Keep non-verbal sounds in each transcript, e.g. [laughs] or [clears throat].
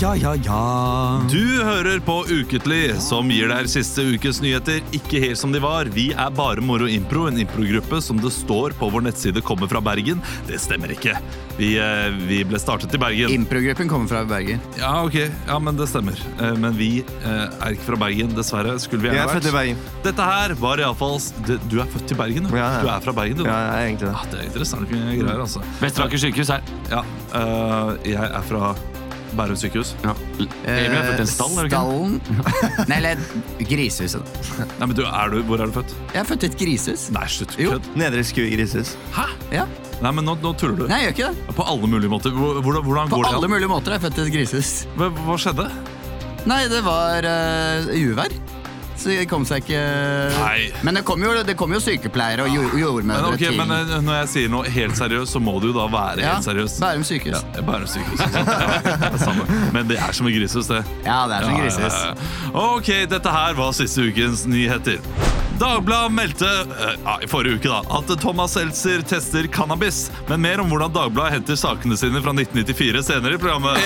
Ja, ja, ja. Du hører på Uketlig, som gir deg siste ukes nyheter ikke helt som de var. Vi er Bare Moro Impro, en improgruppe som det står på vår nettside kommer fra Bergen. Det stemmer ikke. Vi, eh, vi ble startet i Bergen. Improgruppen kommer fra Bergen. Ja, ok. Ja, men det stemmer. Eh, Men vi eh, er ikke fra Bergen, dessverre. Skulle vi Jeg gjerne er født i vært. Bergen. Dette her var iallfall Du er født i Bergen, du. Ja, ja. Du er fra Bergen, du. Ja, jeg er egentlig det. Ja, det er interessante greier, altså. Vesteraker sykehus her. Ja, eh, jeg er fra Bærum sykehus. Emil er født i en stall, er du ikke? Eh, Stallen [laughs] Nei, eller grisehuset. da. Nei, men du, er du, Hvor er du født? Jeg er født i et grisehus. Nei, slutt. Jo. Kødd. Nedre Skue grisehus. Ja. Nei, men nå, nå tuller du. Nei, jeg gjør ikke det. På alle mulige måter. Hvor- Hvordan, hvordan På går det? alle an? mulige måter er jeg født i et grisehus. Hva, hva skjedde? Nei, det var eh, uvær. Så det kom seg ikke Nei. Men det kom jo, det kom jo sykepleiere og jord, Men, jordmødre ok, til men eh, når jeg sier noe helt seriøst, så må du jo da være ja, helt Eh, seriøs. Bærum sykehus. Ja, Bærum sykehus. ikke sant? [laughs] Ja, det er samme. Men det er som et grisehus, det. Ja, det er som Ja, grisehus. ja, ja. Ok, dette her var siste ukens nyheter. Dagbladet meldte eh, ja, i forrige uke da, at Thomas Seltzer tester cannabis. Men mer om hvordan Dagbladet henter sakene sine fra 1994 senere i programmet.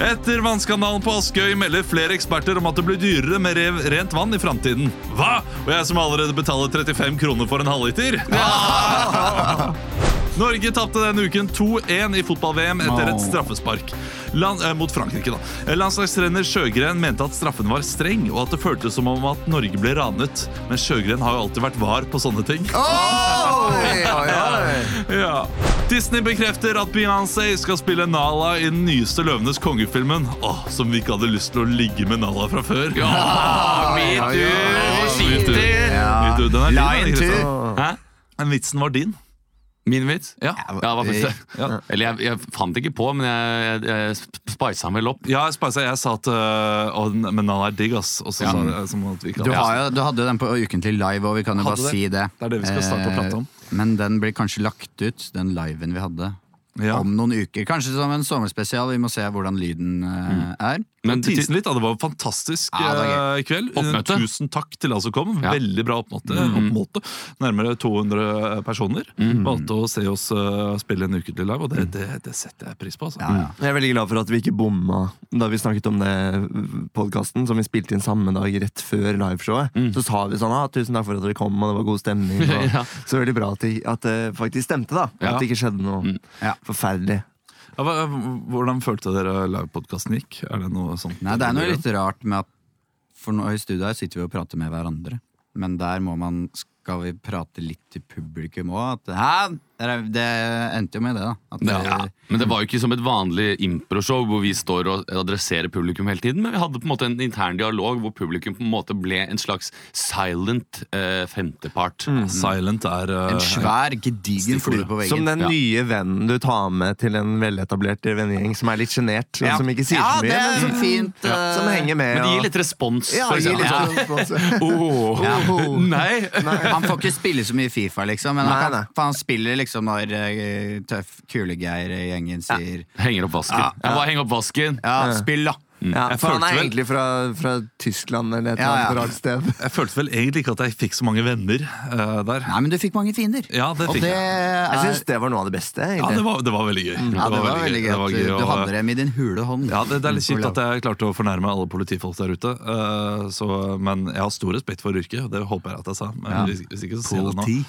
Etter vannskandalen på Askøy melder flere eksperter om at det blir dyrere med rev, rent vann i framtiden. Hva?! Og jeg som allerede betaler 35 kroner for en halvliter? [laughs] Norge tapte denne uken 2-1 i fotball-VM etter et straffespark Land, eh, mot Frankrike. da. Eh, Landslagstrener Sjøgren mente at straffen var streng, og at det føltes som om at Norge ble ranet. Men Sjøgren har jo alltid vært var på sånne ting. Oi, oi, oi. Ja. Disney bekrefter at Beyoncé skal spille Nala i den nyeste Løvenes konge-filmen. Åh, Som vi ikke hadde lyst til å ligge med Nala fra før. Ah, Ja, metoo! ja, ja. Forsiktig! Litt ut. Den er din, da, Lion Kristian. Two. Hæ? Men vitsen var din. Min vits? Ja. Ja, det var faktisk det. Ja. Eller jeg, jeg fant ikke på, men jeg, jeg, jeg sp- spicet den vel opp. Ja, jeg, spasa, jeg sa at øh, «Åh, den- Men Nala er digg, ass. Og så Ja. sa jeg som at vi ikke Du, hadde- har jo, du hadde jo den på Ukentlig live, og vi kan jo Hadde bare det. si det. Det er det vi skal starte å prate om. Eh, Men den blir kanskje lagt ut, den liven vi hadde, ja. om noen uker. Kanskje som en sommerspesial. Vi må se hvordan lyden eh, er. Men til- Tisen litt, da. Mm. Det var en fantastisk Ja, det var eh, kveld. Oppmøte. Tusen takk til alle som kom. Ja. Veldig bra oppmåte. Mm, oppmåte. Nærmere 200 personer valgte å se oss eh, spille en ukentlig live, og det, det, det setter jeg pris på. Altså. Mm. Ja, ja. Jeg er veldig glad for at vi ikke bomma da vi snakket om det podkasten som vi spilte inn samme dag rett før liveshowet. Så sa vi sånn ah, 'tusen takk for at dere kom', og det var god stemning. Og Ja. Så veldig bra at det, at det faktisk stemte, da. Ja. At det ikke skjedde noe Ja. forferdelig. Ja, hva- Hvordan følte dere livepodkasten gikk? Er det noe sånt? Nei, det er noe litt rart med at For nå i studio her sitter vi og prater med hverandre. Men der må man skal vi prate litt til publikum òg. Hæ? Det- Det endte jo med det, da. At det, Ja. Men det var jo ikke som et vanlig improshow hvor vi står og adresserer publikum hele tiden, men vi hadde på en måte en intern dialog hvor publikum på en måte ble en slags silent eh, femtepart. Mm. Silent er eh, Mm. En svær, gedigen flue på Som veggen. den Ja. nye vennen du tar med til en veletablert vennegjeng som er litt sjenert, men som ikke sier ja, så mye, det er men som, fint. eh, som henger med. Men det gir og- litt respons. ja, for gir eksempel. litt sånn respons. Åh. [laughs] ja. Nei! Han får ikke spille så mye Fifa, liksom. Men Nei, han, nei. kan, for han spiller liksom når eh, tøff kulegeir-gjengen sier Henger opp vasken. Jeg bare henger opp vasken. Ja, spill, da! Ja, Jeg for han følte er vel- egentlig fra, fra Tyskland eller et Ja, ja. eller annet rart sted. Jeg følte vel egentlig ikke at jeg fikk så mange venner eh, der. Nei, men du fikk mange fiender. Ja, det Og fikk det jeg. [laughs] er Jeg syns det var noe av det beste. Ja, egentlig det var, det var veldig gøy. Mm. Ja, det var veldig gøy. Det var at du- gøy Du å- hadde dem i din hule hånd. Ja, det, det er litt kjipt at jeg klarte å fornærme alle politifolk der ute. eh, så, men jeg har stor respekt for yrket, og det håper jeg at jeg sa. Men hvis, hvis ikke, så sier jeg det nå.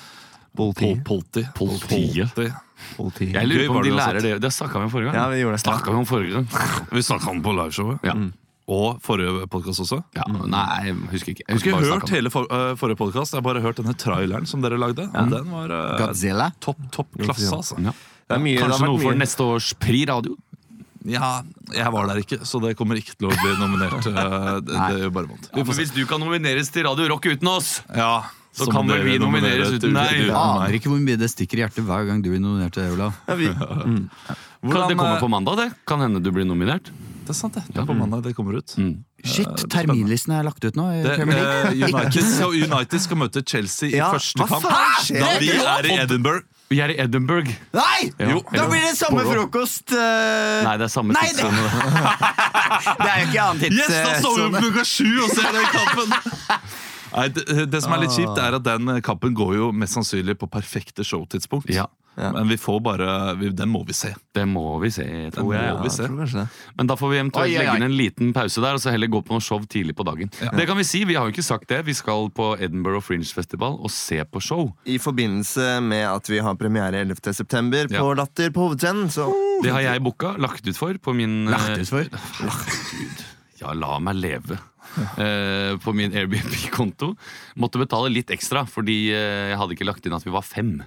Politi. Politi. Politi. Politiet. Politi. Jeg Gøy lurer på var om de det lærer uansett. det. Det snakka vi om forrige gang. Ja, vi gjorde det. Snakket vi om forrige gang. Vi snakka om det på liveshowet. Ja. Og forrige podkast også. Ja, nei, jeg husker Mm. ikke. Jeg har ikke bare hørt hele for, eh, forrige podkast, jeg har bare hørt denne traileren som dere lagde. Og den var eh, [laughs] Godzilla. topp, topp klasse, altså. snakket om- Ja. Det er mye, det har Kanskje vært noe for mye. neste års Pri radio? Ja, jeg var der ikke, så det kommer ikke til å bli nominert. [laughs] eh, det, det gjør bare vondt. Vi får se. hvis du kan nomineres til Radio Rock uten oss Ja, Så må kan vel dere vi nominere nomineres et uten uke- deg. uten Aner meg. ikke hvor mye det stikker i hjertet hver gang du blir nominert til det, Olav. Ja, vi, Hvordan, Det kommer eh, på mandag, det. Kan hende du blir nominert. Det er sant, det. Det er Mm. på mandag det kommer ut. Shit, terminlisten er lagt ut nå. i Det, Premier League. [laughs] eh, United, skal, United skal møte Chelsea Ja, i første hva kamp. faen skjer? Da vi er i Edinburgh. Vi er i Edinburgh. Nei! Jo. Da blir det samme frokost! eh, Nei, det er samme Nei, tidssone. det er jo ikke annen Yes, da står vi tidssone. opp klokka sju og ser den [laughs] kampen! Nei, det, det som er litt kjipt, er at den kampen går jo mest sannsynlig på perfekte showtidspunkt. Ja. Ja. Men vi får bare vi, Den må vi se. [laughs] Det må vi se, Den tror jeg. må vi se. tror kanskje det. Men da får vi eventuelt Oi, oi, oi. legge inn en liten pause der, og så heller gå på noe show tidlig på dagen. Det kan vi si, vi har jo ikke sagt det. Vi skal på Edinburgh Fringe Festival og se på show. I forbindelse med at vi har premiere 11. september på Ja. Latter på Hovedscenen, så Det har jeg booka, lagt ut for på min eh, Lagt ut for? Herregud. Ja, la meg leve. Eh, på min Airbnb-konto. Måtte betale litt ekstra, fordi eh, jeg hadde ikke lagt inn at vi var fem.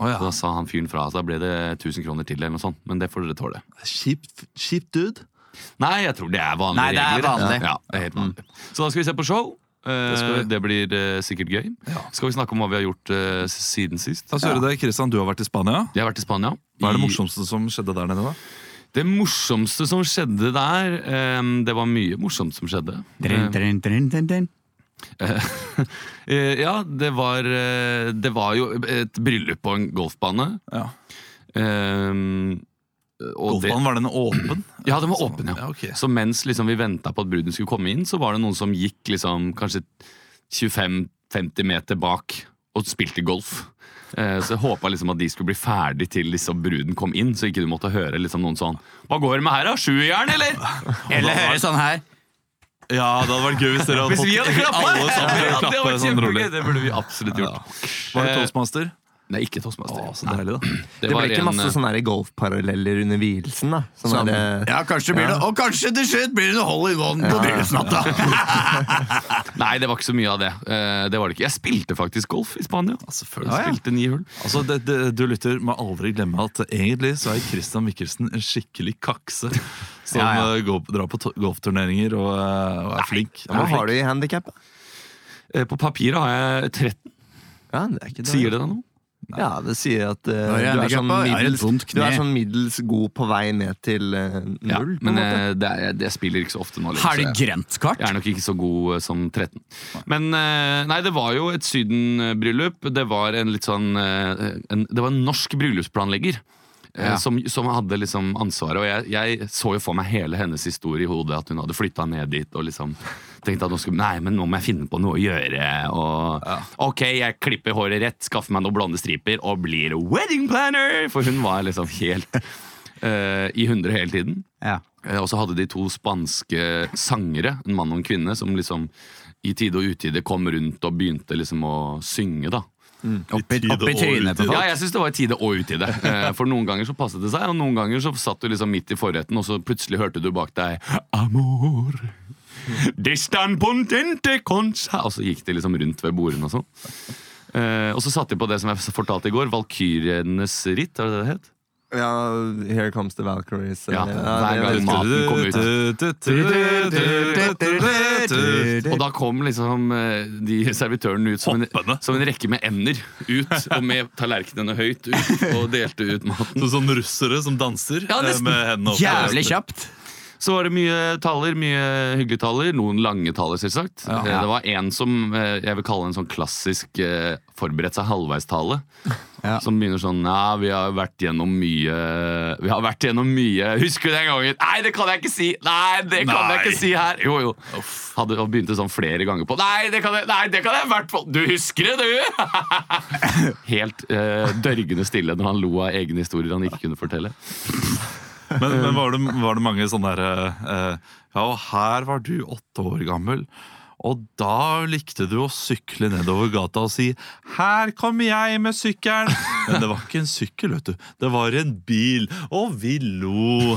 Å, Så da sa han fyren fra, så da ble det 1000 kroner til, eller noe sånt. Men det får dere tåle. Kjipt, kjipt dude. Nei, jeg tror det er vanlige Nei, det er regler. vanlig. Ja, det er helt vanlig. Så da skal vi se på show. Eh, skal vi. det blir eh, sikkert gøy. Skal vi snakke om hva vi har gjort eh, s- siden sist? La oss gjøre det, Kristian, du har vært i Spania. Jeg har vært i Spania. Hva er det I- morsomste som skjedde der nede? da? Det morsomste som skjedde der eh, Det var mye morsomt som skjedde. Drin, drin, drin, drin, drin. [laughs] Eh, ja, det var, eh, det var jo et bryllup på en golfbane. Ja. Um, og det- Golfbanen, var den åpen? Ja, den var åpen, ja. Ja, ok. Så mens liksom, vi venta på at bruden skulle komme inn, så var det noen som gikk liksom, kanskje 25-50 meter bak og spilte golf. Eh, Så jeg håpa liksom, at de skulle bli ferdig til liksom, bruden kom inn, så ikke du måtte høre liksom, noen sånn Hva går det med her, da? Sjujern, eller? Eller hører sånn her. ja, det hadde vært gøy hvis dere hadde Hvis fått vi hadde klappa! [laughs] alle sammen til å det, klappe var sånn kjempegøy. rolig. det burde vi absolutt gjort. Var Eh, det toastmaster? Nei, ikke Toastmaster. Å, så deilig, da. Det, Det var ble ikke en, masse eh, sånne her golfparalleller under vielsen, da. Sånn Sånn. der, eh, Ja, kanskje blir det Og kanskje til slutt blir det noe hole in one på bryllupsnatta! sånn- Nei, det var ikke så mye av det. Eh, Det var det ikke. Jeg spilte faktisk golf i Spania. selvfølgelig. Jeg Spilte ni hull. Altså, det, det, Du lytter, må aldri glemme at egentlig så er Christian Mikkelsen en skikkelig kakse. Som Ja, eh, går, drar på to- golfturneringer og, eh, og er flink. Hva har du i handikap? Eh, På papiret har jeg 13. Ja, det er ikke det. Sier det deg noe? Ja, det sier at eh, Hva er du, er handicap, sånn da? Jeg har et middels, vondt du er kne. sånn middels god på vei ned til eh, Ja, null. på men en måte. eh, det, er, jeg- det spiller ikke så ofte nå. lenger, [laughs] Har det så jeg- grønt kart? jeg er nok ikke så god eh, som 13. Men eh, nei, det var jo et sydenbryllup. Det var en litt sånn eh, en, Det var en norsk bryllupsplanlegger. eh, Ja. Som, som hadde liksom ansvaret. Og jeg, jeg så jo for meg hele hennes historie i hodet. At hun hadde flytta ned dit og liksom tenkte at nå, skulle, nei, men nå må jeg finne på noe å gjøre. Og ok, jeg klipper håret rett, skaffer meg noen blonde striper og blir wedding planner! For hun var liksom helt eh, i hundre hele tiden. Ja. Eh, Og så hadde de to spanske sangere, en mann og en kvinne, som liksom i tide og utide kom rundt og begynte liksom å synge, da. Oppi, tide oppi og trynet på utide. Ja, folk. jeg syns det var i tide og utide. Eh, For noen ganger så passet det seg, og noen ganger så satt du liksom midt i forretten, og så plutselig hørte du bak deg Amor. Distan pontente consa Og så gikk de liksom rundt ved bordene og sånn. Eh, og så satte de på det som jeg fortalte i går, Valkyrienes ritt. Er det det det het? Ja, Here Comes the Valkyries. Ja, eller- hver det- gang det- maten kom ut. ut. Og da kom liksom eh, de servitørene ut som en, Hoppende. som en rekke med ender ut, og med tallerkenene høyt ut, og delte ut maten. Sånn som russere som danser Ja, eh, nesten. med hendene opp. Jævlig kjapt. Så var det mye taler, mye hyggelige taler, noen lange taler, selvsagt. Eh, Det var en som eh, jeg vil kalle en sånn klassisk eh, forberedt seg halvveis-tale. Ja. Som begynner sånn Ja, vi har vært gjennom mye Vi har vært gjennom mye Husker du den gangen? Nei, det kan jeg ikke si! Nei, det kan jeg Nei. ikke si her! Jo, jo. Hadde og begynte sånn flere ganger på Nei, det kan jeg, nei, det kan jeg i hvert fall Du husker det, du! [laughs] Helt eh, dørgende stille når han lo av egne historier han ikke kunne fortelle. Men, Eh. men var, det, var det mange sånne der eh, Ja, og her var du åtte år gammel. Og da likte du å sykle nedover gata og si 'Her kommer jeg [laughs] med sykkelen'. Men det var ikke en sykkel, vet du. Det var en bil. Og vi lo.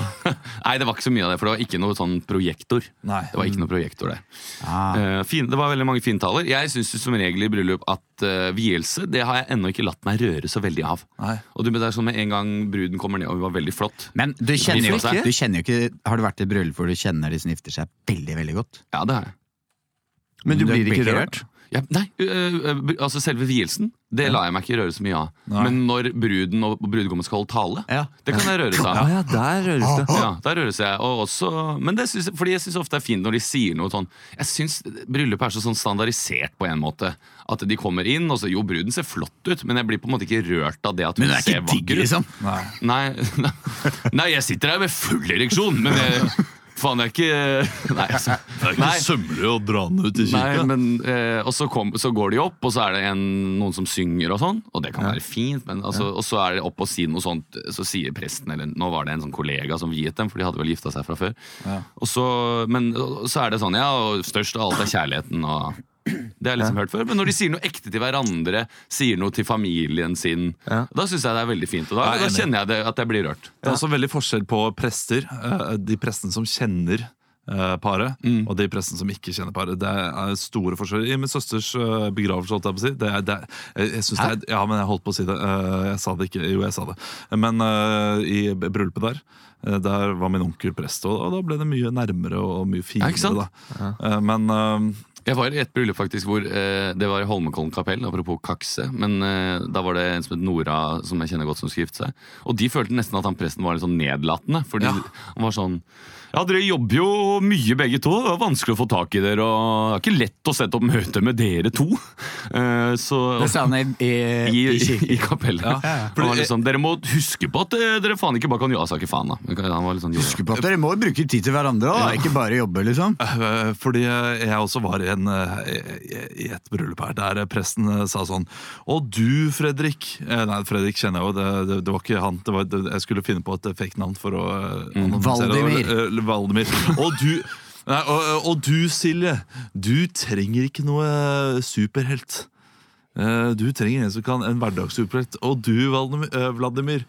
Nei, det var ikke så mye av det, for det var ikke noe sånn projektor. Nei. Det var ikke noe projektor der. Eh, fin, det var veldig mange fintaler. Jeg syns som regel i bryllup at uh, vielse det har jeg ennå ikke latt meg røre så veldig av. Nei. Og du men det er sånn med en gang bruden kommer ned, og hun var veldig flott Men du kjenner, jo Hvorfor ikke, du kjenner jo ikke Har du vært i et bryllup hvor du kjenner de som gifter seg, veldig veldig godt? Ja, det har jeg. Men du Du blir ikke blir ikke rørt? Ja, nei, eh, eh, br- altså selve vielsen, det lar jeg meg ikke røre så mye av. Nei. Men når bruden og brudgommen skal holde tale, Ja. det kan jeg røre seg av. Ja, ja, der røres det. Ja, der røres jeg. Og også, men det synes, fordi jeg syns ofte det er fint når de sier noe sånn Jeg synes Bryllup er så sånn standardisert på en måte. At de kommer inn, og så Jo, bruden ser flott ut, men jeg blir på en måte ikke rørt av det at hun Men det er ser ikke liksom. digg, vakker ut. liksom. [laughs] Nei, nei, jeg sitter her med full ereksjon, men jeg, Faen, jeg er ikke [laughs] Nei, altså. Det er Nei. ikke sømmelig å dra den ut i Nei, kirka. men, eh, og så, kom, så går de opp, og så er det en, noen som synger og sånn. Og det kan være fint, men altså, og så er det opp og si noe sånt, så sier presten eller Nå var det en sånn kollega som viet dem, for de hadde vel gifta seg fra før. Og så, men og så er det sånn, ja, og størst av alt er kjærligheten. og det har jeg liksom hørt før, Men når de sier noe ekte til hverandre, sier noe til familien sin, Ja. da syns jeg det er veldig fint. Og da, Jeg er da enig. kjenner jeg det, at jeg blir rørt. Det er også veldig forskjell på prester. eh, De prestene som kjenner eh, paret, Mm. og de prestene som ikke kjenner paret. Det er store forskjeller. I min søsters eh, begravelse, holdt jeg på å si det er, det er, jeg- jeg synes det er, Ja, men jeg holdt på å si det. Eh, Jeg sa det ikke. Jo, jeg sa det. Men eh, i b- bryllupet der eh, der var min onkel prest, og, og da ble det mye nærmere og mye Ja, finere. ikke sant? da. Eh, Men eh, Jeg var i et bryllup faktisk hvor eh, det var i Holmenkollen kapell, apropos kakse. Men eh, da var det en som het Nora, som jeg kjenner godt, som skulle gifte seg. Og de følte nesten at han presten var litt sånn nedlatende. Fordi han var sånn Ja, dere jobber jo mye begge to. Det var vanskelig å få tak i dere, og det er ikke lett å sette opp møte med dere to. Eh, så Det sa han i, i, i, i i, kirken. i kapellet. Han var litt sånn, dere må huske på at eh, dere faen ikke bare kan Ja, sa ikke faen, da. Han var litt sånn, Husk på at dere må jo bruke tid til hverandre òg, ikke bare jobbe, liksom. Eh, Fordi jeg også var i, en, eh, i et bryllup her der presten eh, sa sånn Å, du, Fredrik. Eh, Nei, Fredrik kjenner jeg jo. Det, det, det var ikke han. Det var, det, jeg skulle finne på et fake navn for å eh, annonsere det. Valdemir. Eh, Valdemir. Og du Nei, og, og du, Silje, du trenger ikke noe superhelt. Eh, Du trenger en som kan en hverdagssuperhelt. Og du, Valdem- eh, Vladimir,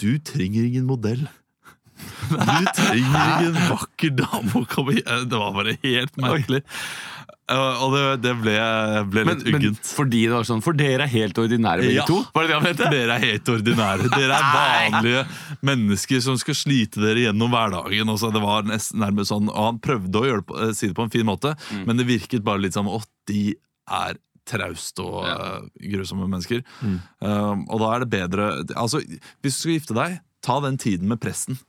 du trenger ingen modell. Du trenger ingen [laughs] vakker dame å komme i Eh, Det var bare helt merkelig. Eh, Og det, det ble, ble men, litt men uggent. fordi det var sånn, for dere er helt ordinære begge to. Var det det han mente? Dere er helt ordinære. [laughs] Dere er vanlige mennesker som skal slite dere gjennom hverdagen. Og så det var nesten nærmest sånn, og han prøvde å gjøre det på, eh, si det på en fin måte, men det virket bare litt som at de er traust og Ja. eh, grusomme mennesker. Um, og da er det bedre Altså, hvis du skal gifte deg, ta den tiden med presten.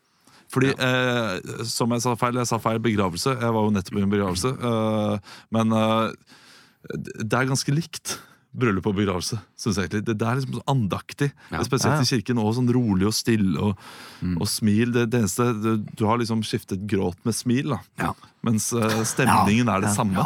Fordi, eh, som jeg sa feil, jeg sa feil begravelse. Jeg var jo nettopp i en begravelse. eh, men eh, det er ganske likt bryllup og begravelse. Synes jeg egentlig. Det, det er liksom sånn andaktig, Ja. spesielt Ja, ja. i kirken. Og sånn rolig og stille og, og smil. Det, det eneste, du, du har liksom skiftet gråt med smil, da. mens eh, stemningen er det samme.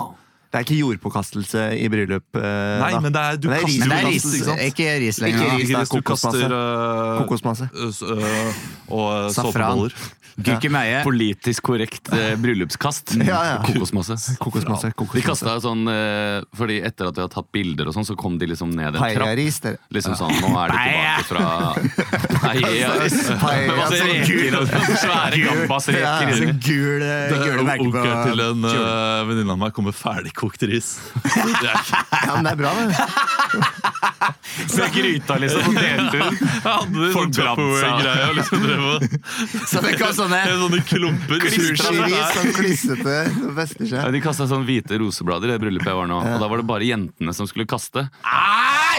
Det er ikke jordpåkastelse i bryllup. eh, Nei, da. men det er, du Men det er ris- kaster jo Men det er Jonas, ris, glass, ikke sant? ikke ris Ikke lenger. ris. Ikke hvis du det er kokosmasse. kaster eh, Kokosmasse. s- eh, og eh, Safran. såpeboller. Gurkemeie. Politisk korrekt eh, bryllupskast. [laughs] Ja, ja. Kokosmasse. Kokosmasse. De kokosmasse. kasta sånn eh, Fordi etter at vi hadde tatt bilder, og sånn så kom de liksom ned en trapp. Paella-ris, dere. Liksom sånn, Nå er de tilbake [laughs] fra Paella. [laughs] Med Paella, masse sånn reker og sånn svære Ja, gambasreker sånn inni. Gul, eh, gule merker på Onkelen til en eh, venninne av meg kommer ferdigkokt ris. Det er ikke Ja, men det er bra, det. Fra gryta, liksom. på deltur. Folk sånn Folk brant seg. Tupperware-greia. sånn Liksom, drev og- [laughs] Så [laughs] det kom sånne Det er sånne klumper. Sushi-ris sånn klissete. Det fester Ja, seg. De kasta sånn hvite roseblader i det bryllupet jeg var nå. Og da var det bare jentene som skulle kaste.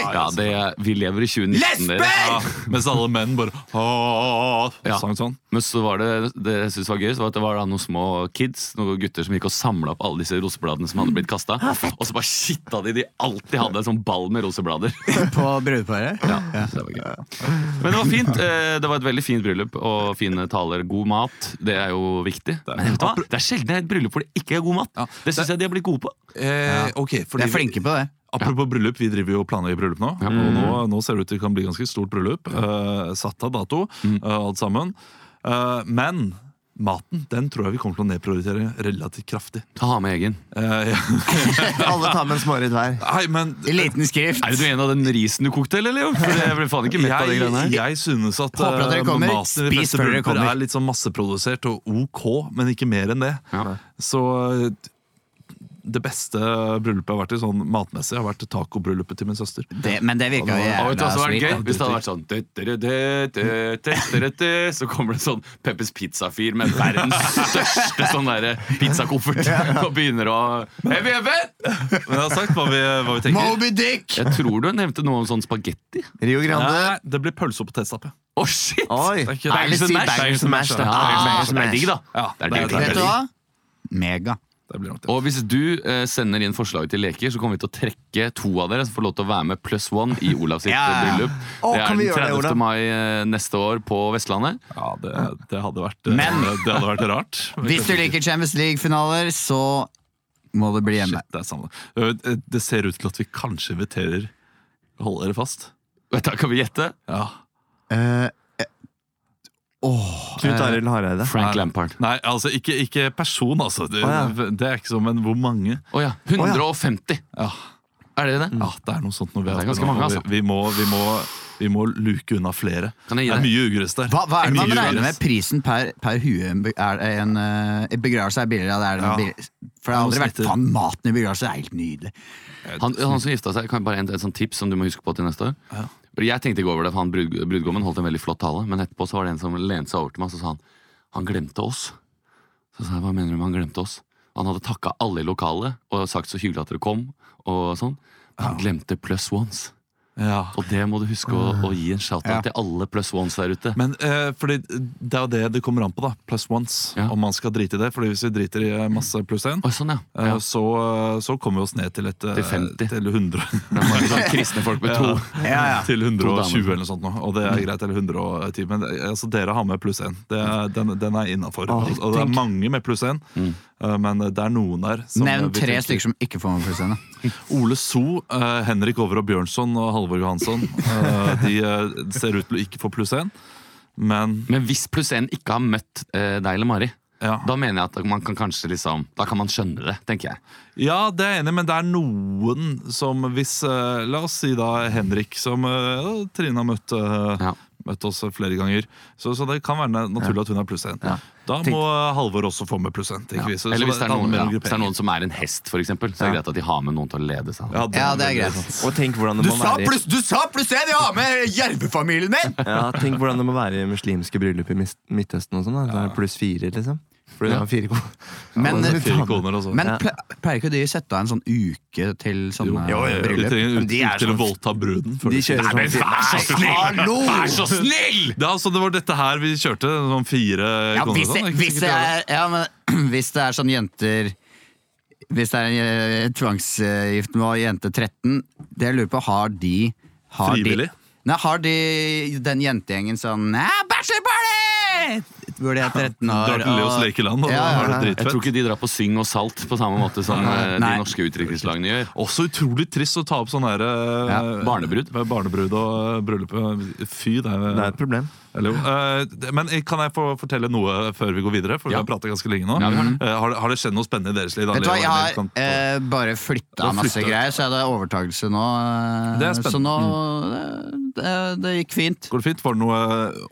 Ja, det, Vi lever i 2019, dere. Ja, mens alle menn bare «Åh», Ja. sang sånn. Men så var det det jeg synes var gøy, så var at det var da noen små kids Noen gutter som gikk og samla opp alle disse rosebladene som hadde blitt kasta. Ah, Og så bare shitta de de alltid hadde en sånn ball med roseblader. på brudeparet. Ja, så det var gøy. Men det var fint. eh, Det var et veldig fint bryllup og fine taler. God mat. Det er jo viktig. Men vet du hva? Det er sjelden det er et bryllup hvor det ikke er god mat. Det syns jeg de har blitt gode på. Eh, ok, De fordi er flinke på det. Apropos bryllup, vi driver jo og planlegger bryllup nå. Og nå, Mm. nå ser det ut til det kan bli ganske stort bryllup. eh, satt av dato, Mm. eh, alt sammen. Eh, men maten den tror jeg vi kommer til å nedprioritere relativt kraftig. Ta med egen. Eh, ja. [laughs] Alle tar med en smårett hver. Nei, men I liten skrift. Er det du en av den risen du kokte, eller? Leo? For jeg ble faen ikke mett av de jeg, greiene her. jeg synes at Håper at dere eh, kommer. maten i de Spis fleste før dere brylluper kommer. er litt sånn masseprodusert og ok, men ikke mer enn det. Ja. Så eh, det beste bryllupet jeg har vært i sånn matmessig, har vært tacobryllupet til min søster. Det, men det virka jo Og vet du jævla hva som hadde vært sweet. gøy? da. Hvis det hadde vært sånn «Dø-dø-dø-dø-dø-dø-dø-dø», Så kommer det sånn Peppers Pizza-fyr med verdens største sånn derre pizzakoffert og begynner å «Heavy, heavy!» Men jeg har sagt hva vi, hva vi tenker. Moby Dick! Jeg tror du nevnte noe om sånn spagetti. Rio Grande. Nei, det blir pølse og potetstappe. Å, shit! liksom Oi. Det er ikke- Bangers and mash. Bangers and mash, da. Ah, Bangers Det and mash. er digg, da. Ja, Det er det er digg. det. Vet du hva? Mega. Det blir nok det. Og hvis du eh, sender inn forslag til leker, så kommer vi til å trekke to av dere som får lov til å være med pluss one i Olavs sitt Ja. bryllup. Å, det kan er vi den gjøre det, 30. Olav? mai eh, neste år på Vestlandet. Ja, det, det hadde vært eh, Men- Det hadde vært rart. [laughs] Hvis du liker Champions League-finaler, så må du bli hjemme. Shit, det er samme. Ø, Det ser ut til at vi kanskje inviterer Hold dere fast. Da kan vi gjette. Ja. Eh, Knut Arild Hareide. Frank Lampard. Nei, altså, ikke, ikke person, altså. Det, Å, det er ikke sånn, men hvor mange? Å ja. 150! Ja, Er det det? ja det er noe sånt når vi Ja, det er hatt ganske nå, mange, og vi- altså. Vi må, vi må, vi må luke unna flere. Kan jeg gi Det er deg? mye ugress der. hva, hva er det Mye man regner ugress. med? Prisen per, per hue? Er det en eh, begravelse er billigere? Det er det Ja. billig- For det har aldri vært faen maten i begravelse. Det er helt nydelig. Han, han som gifta seg, kan bare en, et sånt tips som du må huske på til neste år. Fordi Jeg tenkte ikke over det, for han brud, brudgommen holdt en veldig flott tale, men etterpå så var det en som lente seg over til meg og så sa han han glemte oss. Så sa jeg hva mener du med han glemte oss? Han hadde takka alle i lokalet og sagt så hyggelig at dere kom, og sånn. Men han glemte pluss ones. Ja. Og det må du huske å, å gi en shout-out Ja. til alle pluss ones der ute. Men eh, fordi det er jo det det kommer an på, da. Plus ones. Ja. Om man skal drite i det. Fordi hvis vi driter i eh, masse pluss én, Oi, sånn, ja. eh, ja. så, så kommer vi oss ned til et eh, Til 50. Til [laughs] 100. Det er mange sånne kristne folk med to. Ja, ja. sånn. Til To 120 damer. eller noe sånt nå. Og det er greit, eller 110. Men eh, altså, dere har med pluss én. Det er- Den, den er innafor. Åh, og, og det er tenk. mange med pluss én, eh, men det er noen der som Mm. Nevn vi tre tenker- stykker som ikke får med plussene. Ole So, eh, Henrik Over og Bjørnson og Halvor Johansson. eh, de eh, ser ut til å ikke få pluss én, men Men hvis pluss én ikke har møtt eh, deg eller Mari, ja. da mener jeg at man kan kanskje liksom Da kan man skjønne det, tenker jeg. Ja, det er jeg enig, i, men det er noen som hvis eh, La oss si da Henrik, som eh, Trine har møtt, eh, Ja. møtt oss flere ganger. Så, så det kan være na- naturlig at hun er pluss én. Da må eh, Halvor også få med pluss én. tenker vi. Så- så Eller hvis det, er alle noen, ja, mellom hvis det er grupperinger. noen som er en hest, for eksempel, så er det greit at de har med noen til å lede seg. Ja, Ja, det er veldig greit. sant. liksom. Og tenk hvordan det må være i- du sa pluss én! Jeg har med jervefamilien [laughs] min! Ja, tenk hvordan det må være i muslimske bryllup i Mis- Midtøsten og sånn. da. Da er det pluss fire, liksom. For du har fire ko- Men, eh, Det er Fire koner og sånn. men ple- pleier ikke de å sette av en sånn uke til sånne Jo, jo, jo, de bryllup? trenger ut, De er ut til å sånn- voldta bruden. før De de- kjører sånn fire. vær så snill! Hallo! Vær så snill! Ja, så sånn. Det var dette her vi kjørte. Sånn fire Ja, koner hvis og det, sånn. ikke hvis, sikkert det alle. er, ja, men, [clears throat] hvis det er sånn jenter Hvis det er en eh, tvangsgift med jente 13 Det jeg lurer på, har de har Frivillig? De, nei, har de den jentegjengen sånn «Nei, Bachelor party! Hvor de er 13 [laughs] Drar år til Leos lekeland, og Ja, ja, da har ja. du Jeg tror dritfett. ikke de drar på Syng og Salt på samme måte som eh, de Nei. norske utdrikningslagene gjør. Også utrolig trist å ta opp sånn derre Ja, barnebrud. barnebrud og eh, bryllup. eh, Fy, det er, Det er et problem. [clears throat] Eller jo. Eh, det- Men eh, kan jeg få fortelle noe før vi går videre? For vi Ja. har pratet ganske lenge nå. Ja, vi har det. Eh, har, det- har det skjedd noe spennende i deres liv? da, Vet du hva, Leo? jeg Eller har kan- eh, bare flytta har masse flyttet. greier, så er det overtakelse nå. eh, Det er spennende. Mm. Så nå det, det gikk fint. Går det fint? Var det noe,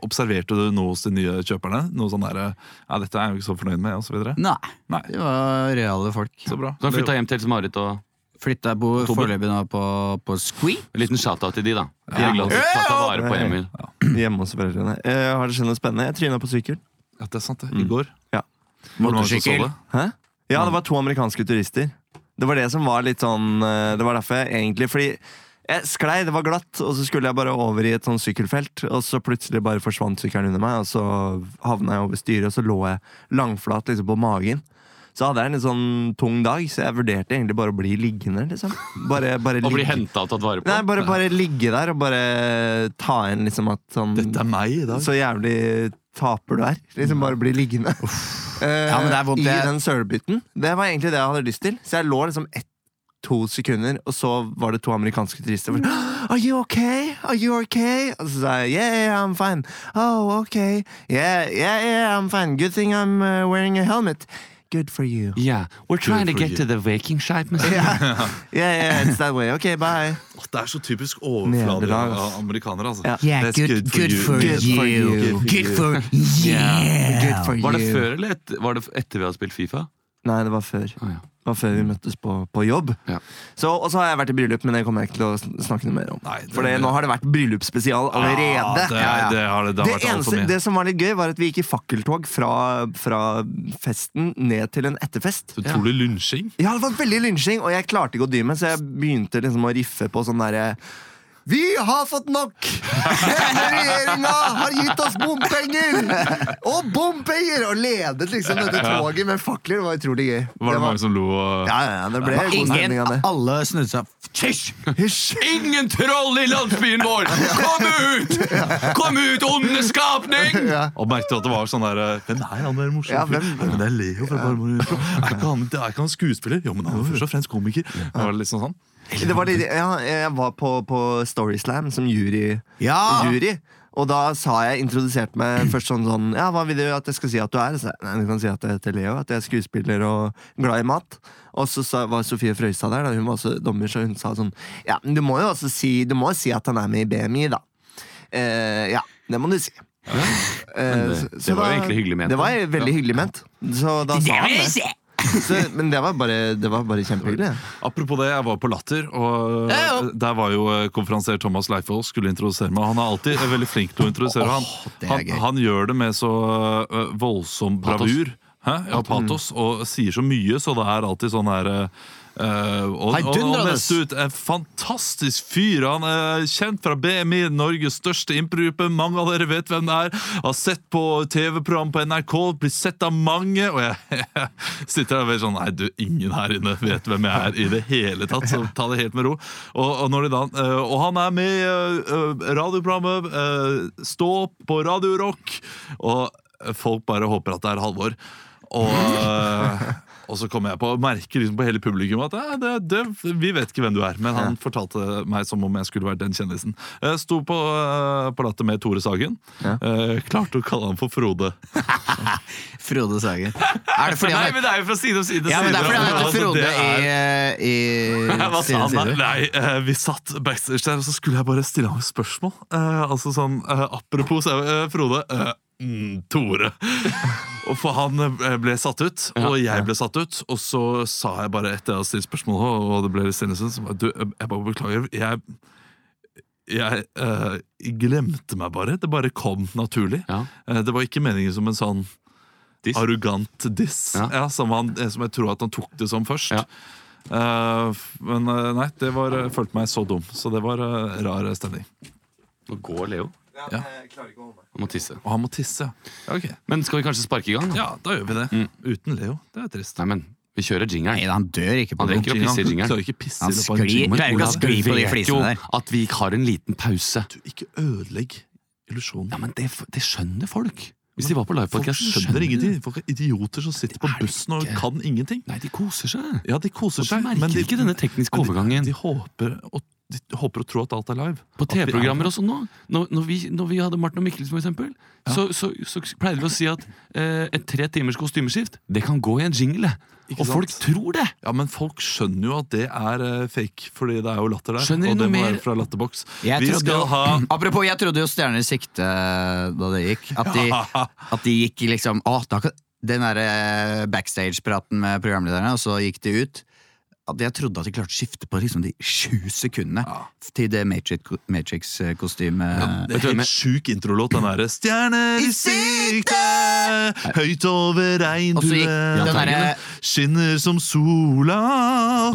observerte du noe hos de nye kjøperne? Noe sånn der, eh, ja, 'Dette er jeg jo ikke så fornøyd med', og så videre? Nei. Nei. Det var reale folk. Så bra. Så han flytta hjem til Else Marit og Flytta jeg bor Oktober. foreløpig nå på, på Squee. En liten shout-out til de, da. De er glad for å ta vare på Emil. Hjemme hos foreldrene. Eh, har det skjedd noe spennende? Jeg tryna på sykkel. Ja, det er sant, det. I går. Ja. Var det mange som Motorsykkel. så det? Hæ? Ja, det var to amerikanske turister. Det var det som var litt sånn eh, Det var derfor jeg egentlig Fordi jeg sklei, det var glatt, og så skulle jeg bare over i et sånn sykkelfelt, og så plutselig bare forsvant sykkelen under meg, og så havna jeg over styret, og så lå jeg langflat liksom på magen. Så hadde jeg en litt sånn tung dag, så jeg vurderte egentlig bare å bli liggende, liksom. Bare, bare Og bli ligge. henta og tatt vare på. Nei, bare, bare ligge der og bare ta inn liksom at sånn Dette er meg i dag. så jævlig taper du er. Liksom bare bli liggende. [laughs] Eh, Ja, men det er vondt, I det- den sølebytten. Det var egentlig det jeg hadde lyst til. Så jeg lå liksom ett To sekunder, og så var det to amerikanske turister. som var sånn, [gasps] Are you okay? Are you okay? Og så sa jeg yeah, I'm fine. Oh, okay. Yeah, yeah, yeah, I'm fine. Good thing I'm uh, wearing a helmet. Good for [laughs] you. Yeah, we're trying to for get you. to the Viking ship, Mr. Yeah, yeah, yeah it's that way. Okay, bye. Åh, Det er så typisk overflader Nederlag, av ass. amerikanere, altså. Ja. That's good for you. Good for you. Good for yeah. Good for Var det you. før eller et, var det etter vi hadde spilt Fifa? Nei, det var før. Å, ja. Det var før vi møttes på, på jobb. Ja. Så, og så har jeg vært i bryllup, men det kommer jeg ikke til å sn- snakke noe mer om. Nei, det- For det- nå har det vært bryllupsspesial allerede. Ja, det, det har det, det har Det, vært alt for eneste, mye. det som var litt gøy, var at vi gikk i fakkeltog fra, fra festen ned til en etterfest. Så Utrolig lynsjing. Ja, det var veldig lynsjing, og jeg klarte ikke å dy meg, så jeg begynte liksom å riffe på sånn derre Vi har fått nok! Denne regjeringa har gitt oss bompenger! Og bompenger! Og ledet liksom dette toget med fakler. Det var utrolig gøy. Var det mange som lo? og- Ja, ja, ja, det ble god Ingen, stemning av det. alle snudde seg. Hysj! Hysj! Ingen troll i landsbyen vår! Kom ut! Kom ut, onde skapning! Ja. Og merket du at det var sånn der eh, Hvem er han der morsomme Ja, fyren? hvem- Ja, men det er Leo fra Barmor Impro. Er ikke han, er ikke han skuespiller? Jo, men han er først og fremst komiker. Det var litt sånn sånn. Det var litt, ja, jeg var på, på Storyslam som jury, Ja! jury. Og da sa jeg, introduserte meg først sånn sånn Ja, hva vil du at jeg skal si at du er? Så, jeg, nei, du kan si at jeg heter Leo, at jeg er skuespiller og glad i mat. Og så sa, var Sofie Frøystad der, da hun var også dommer, så hun sa sånn Ja, men du må jo også si, du må si at han er med i BMI, da. Eh, ja, det må du si. Eh, Men det- så- det så var jo da- egentlig hyggelig ment, Det var da. veldig hyggelig ment. Så da sa han det. Så, men det var bare, det var bare kjempehyggelig. Apropos det, jeg var på Latter, og der var jo eh, konferansier Thomas Leifold skulle introdusere meg. Han er alltid eh, veldig flink til å introdusere. Han, det er han, gøy. han gjør det med så eh, voldsom Patos. bravur. Hæ? Ja, patos, og sier så mye, så det er alltid sånn her eh, eh, og, og, og Heidundrende. mest ut En fantastisk fyr. Han er kjent fra BMI, Norges største improgruppe. Mange av dere vet hvem det er. Har sett på TV-program på NRK, blir sett av mange. Og jeg, [laughs] sitter der og er sånn Nei, du, ingen her inne vet hvem jeg er i det hele tatt, så ta det helt med ro. Og, og, når de da, eh, og han er med i eh, eh, radioprogrammet eh, Stå opp på Radio Rock, og folk bare håper at det er Halvor. Og eh, og så kommer jeg på og merker liksom på hele publikum at eh, det, det, vi vet ikke hvem du er. Men han fortalte meg som om jeg skulle vært den kjendisen. Jeg sto på, eh, på latter med Tore Sagen. Eh, klarte å kalle han for Frode. Frode Sagen. Er det fordi Nei, han men det er jo fra side om side. ja, men det er fordi han Altså, heter Frode eh, det er- i, [laughs] i [laughs] Hva sa sine han da? sider. Nei, eh, vi satt backstage der, og så skulle jeg bare stille ham et spørsmål. Eh, altså sånn, eh, Apropos eh, Frode. eh, mm, [laughs] Tore. Og for han eh, ble satt ut, og jeg ble satt ut. Og så sa jeg bare etter jeg hadde stilt spørsmålet, og det ble litt stillelse, så bare, du, eh, jeg bare beklager. Jeg, jeg eh, glemte meg bare. Det bare kom naturlig. Ja. Eh, det var ikke meningen som en sånn Diss. arrogant diss, ja. Ja. som, han, eh, som jeg tror at han tok det som først. Ja. Eh, f- men eh, nei, det var, jeg følte meg så dum, så det var eh, rar stemning. Nå går Leo. Ja. Han må tisse. Og han må tisse. Ja, ok. Men skal vi kanskje sparke i gang? da? Ja, da gjør vi det. Mm. Uten Leo. Det er trist. Nei, men vi kjører Nei, jingeren. han dør ikke på Han do. drikker opp Han pisse i jingeren. klarer ikke pisse Han i løpet av en sklir- jingle. klarer ikke å Olav, skli på de vet jo flisene der. at vi har en liten pause. Du, ikke ødelegg illusjonen. Ja, men det, det skjønner folk. Hvis de var på Folk livepodkast, skjønner ingenting. Folk er idioter som sitter på Det er det bussen og ikke. kan ingenting. Nei, de koser seg. Ja, de koser Og de seg, merker ikke denne tekniske men de- overgangen. De håper, og, de håper og tror at alt er live. På At vi er- TV-programmer og sånn nå, når, når, vi, når vi hadde Martin og Mikkelsen, for eksempel, så, så, så pleide vi å si at eh, et tre timers kostymeskift, det kan gå i en jingle. Ikke Og sant? folk tror det! Ja, men folk skjønner jo at det er eh, fake, fordi det er jo latter der. Skjønner de og det noe må mer? være fra Latterbox. Jeg Vi trodde skal jo- ha Apropos, jeg trodde jo Stjerner i sikte da det gikk. At [laughs] de, at de gikk liksom Å, da kan Den derre backstage-praten med programlederne, og så gikk de ut. At jeg trodde at de klarte å skifte på liksom de sju sekundene til det Matrix- Matrix-kostymet. Det er helt sjuk introlåt, den derre Stjerner i sikte, høyt over Og så gikk den derre- regnbuen, skinner som sola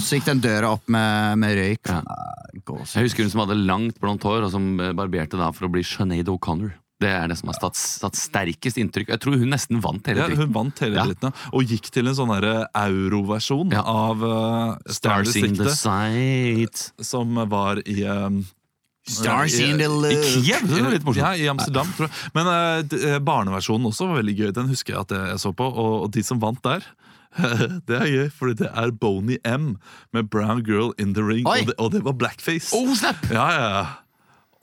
så gikk den døra opp med, med røyk. Sånn, eh, Ja. Nei, gås. Jeg husker hun som hadde langt blondt hår, og som eh, barberte da for å bli Sinead O'Connor. Det er det som har statt, statt sterkest inntrykk. Jeg tror hun nesten vant hele ja, dritten. hun vant hele Ja. dritten, ja. og gikk til en sånn derre euroversjon Ja. av uh, Stjerner i Stars in the sikte, sight. som var i eh, Stars in the I look. Kiev, det var litt morsomt. Ja, Ja, i Amsterdam, tror jeg. Men eh, d- eh, barneversjonen også var veldig gøy. Den husker jeg at jeg så på. Og, og de som vant der, [laughs] det er gøy, fordi det er Boney M med Brown Girl in the Ring. Oi! Og det, og det var blackface. Oh, snap! Ja, ja, ja.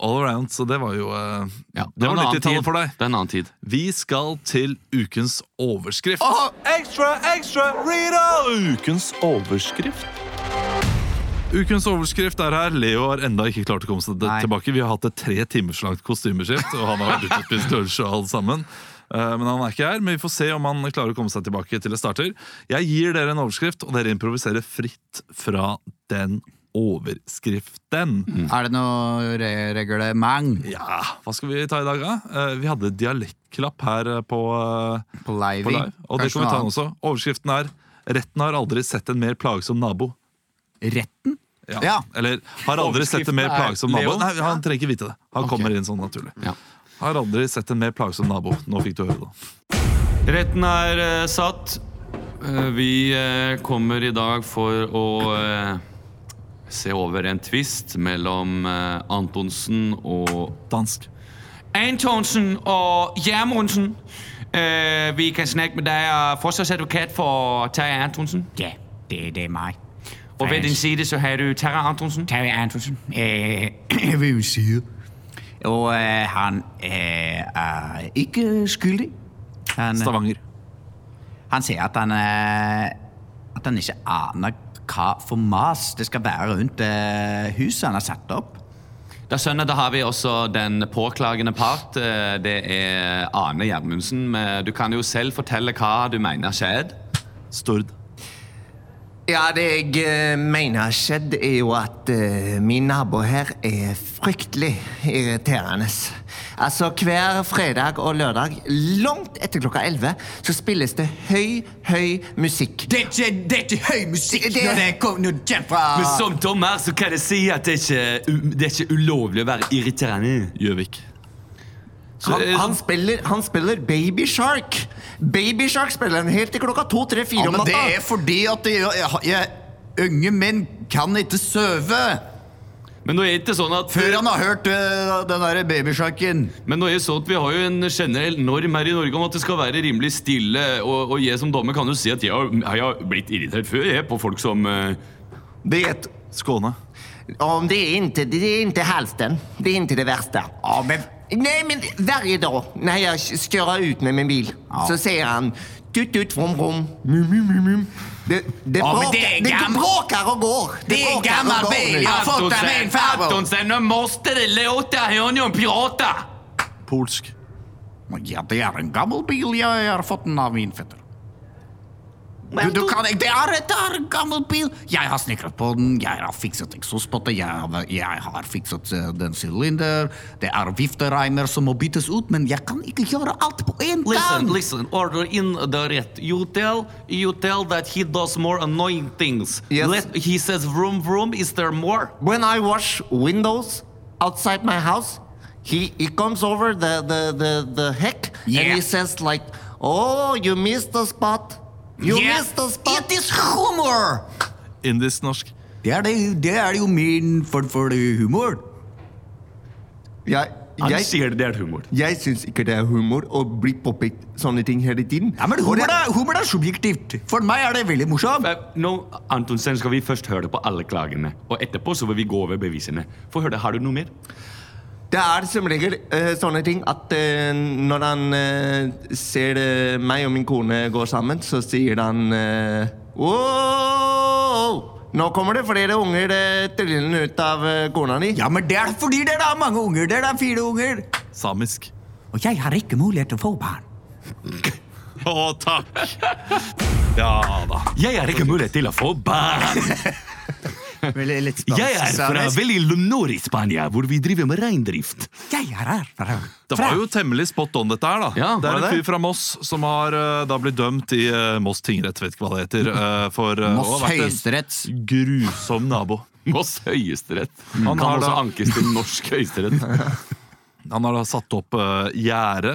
All around, så det var jo eh, Ja, Det en var annen 90-tallet tid. for deg. Det er en annen tid. Vi skal til ukens overskrift. Ekstra, ekstra, read all! Ukens overskrift. Ukens overskrift er her. Leo har enda ikke klart å komme seg Nei. tilbake. Vi har hatt et tre timers langt kostymeskift, og han har vært ute og spist lunsj og alt sammen. Eh, Men han er ikke her, men vi får se om han klarer å komme seg tilbake til det starter. Jeg gir dere en overskrift, og dere improviserer fritt fra den overskriften. Er det noe re reglement Ja, Hva skal vi ta i dag, da? Eh, Vi hadde dialektklapp her eh, på, eh, på live? på live, og det Kanskje kan vi ta noe nå også. Overskriften er 'Retten har aldri sett en mer plagsom nabo'. annet. Retten? Ja. Eller har aldri sett en mer Overskriften er plagsom nabo. Leo? Nei, Han trenger ikke vite det. Han kommer inn sånn naturlig. Ja. Har aldri sett en mer plagsom nabo. Nå fikk du høre det. Retten er eh, satt. Eh, vi eh, kommer i dag for å eh, se over en tvist mellom eh, Antonsen og Dansk. Antonsen og Gjermundsen. Eh, vi kan snakke med deg, eh, forsvarsadvokat for Terje Antonsen. Ja, det, det er mig. Og ved din side så har du Terje Antonsen. Terry Antonsen. Øh, [clears throat] ved min side. Og øh, han øh, er ikke skyldig. Han, Stavanger. han sier at han, øh, at han ikke aner hva for mas det skal være rundt øh, huset han har satt opp. Da skjønner jeg, da har vi også den påklagende part. Eh, Det er Ane Gjermundsen. Men Du kan jo selv fortelle hva du mener skjedde. Stord. Ja, det jeg eh, mener har skjedd, er jo at eh, min nabo her er fryktelig irriterende. Altså, hver fredag og lørdag, langt etter klokka 11, så spilles det høy, høy musikk. Det er ikke, det er ikke høy musikk Det- når det kommer noe kjent fra Men som dommer så kan jeg si at det er ikke, u- det er ikke ulovlig å være irriterende. Gjøvik. Så, Han, eh, han, spiller, han spiller Baby Shark. Baby Shark spiller han helt til klokka to, tre, fire Ja, om men det natta. er fordi at jeg, jeg, jeg, unge menn kan ikke sove men nå er det ikke sånn at før han har hørt øh, den der babysjakken. Men nå er det sånn at vi har jo en generell norm her i Norge om at det skal være rimelig stille. Og, og jeg som dommer kan jo si at jeg har, jeg har blitt irritert før jeg på folk som eh, Det, Skåne. om det, är inte, det är inte hälften. Det är inte det värsta. Ja, men Nej, men varje dag när jag skårar ut med min bil så säger han tut tut vrom vrom. Mum, mum, mum, mum. Det, det, Ja, men bråkar, det är det gam- bråkar och går. Det är en bråkar och gammal går bil, nu. ja. har fått av min farbror. Antonsen, nå måste det låta honom prata! Polsk. Men Ja, det er en gammel bil jeg har fått den av min fetter. Du, du kan ikke, det er, det er en gammel bil! Jeg har snekret på den, jeg har fikset eksospotte, jeg, har- jeg har fikset eh, den sylinder, det er viftereimer som må byttes ut, men jeg kan ikke gjøre alt på en gang! Listen, listen, order in the red. You tell, you tell that he does more annoying things. Yes. Let, he says vroom vroom, is there more? When I wash windows outside my house, he, he comes over the, the, the, the heck and Yeah. he says like, oh, you missed the spot. You Yeah. missed the spot. It is humor! Indisk-norsk. Det er, det, det er jo min form for humor. Jeg, jeg, sier det er humor. jeg syns ikke det er humor å bli påpekt sånne ting hele tiden. Ja, men Og humor det- er, humor er subjektivt. For meg er det veldig morsomt. Nå, Antonsen, skal vi først høre på alle klagene, og etterpå så vil vi gå over bevisene. Få høre, har du noe mer? Det er som regel eh, sånne ting at eh, når han eh, ser eh, meg og min kone går sammen, så sier han eh, Wow! Nå kommer det flere unger eh, trillende ut av eh, kona di. Ja, men det er fordi dere har mange unger. Dere har fire unger. Samisk. Og jeg har ikke mulighet til å få [laughs] barn. Å, takk! Ja da. Jeg har ikke mulighet til å få barn! [laughs] Litt Jeg er fra veldig nord i Spania, hvor vi driver med [laughs] reindrift. Jeg er her fra Det var jo temmelig spot on, dette her. da Ja, Det var er en det det? fyr fra Moss som har eh, da blitt dømt i eh, Moss tingrett, vet ikke hva det heter. eh, for, eh, å Moss ha vært en høyesterett. Grusom nabo. Moss høyesterett. Han Mm. Han har kan også da- ankes til norsk [laughs] høyesterett. Han har da satt opp uh, gjerde.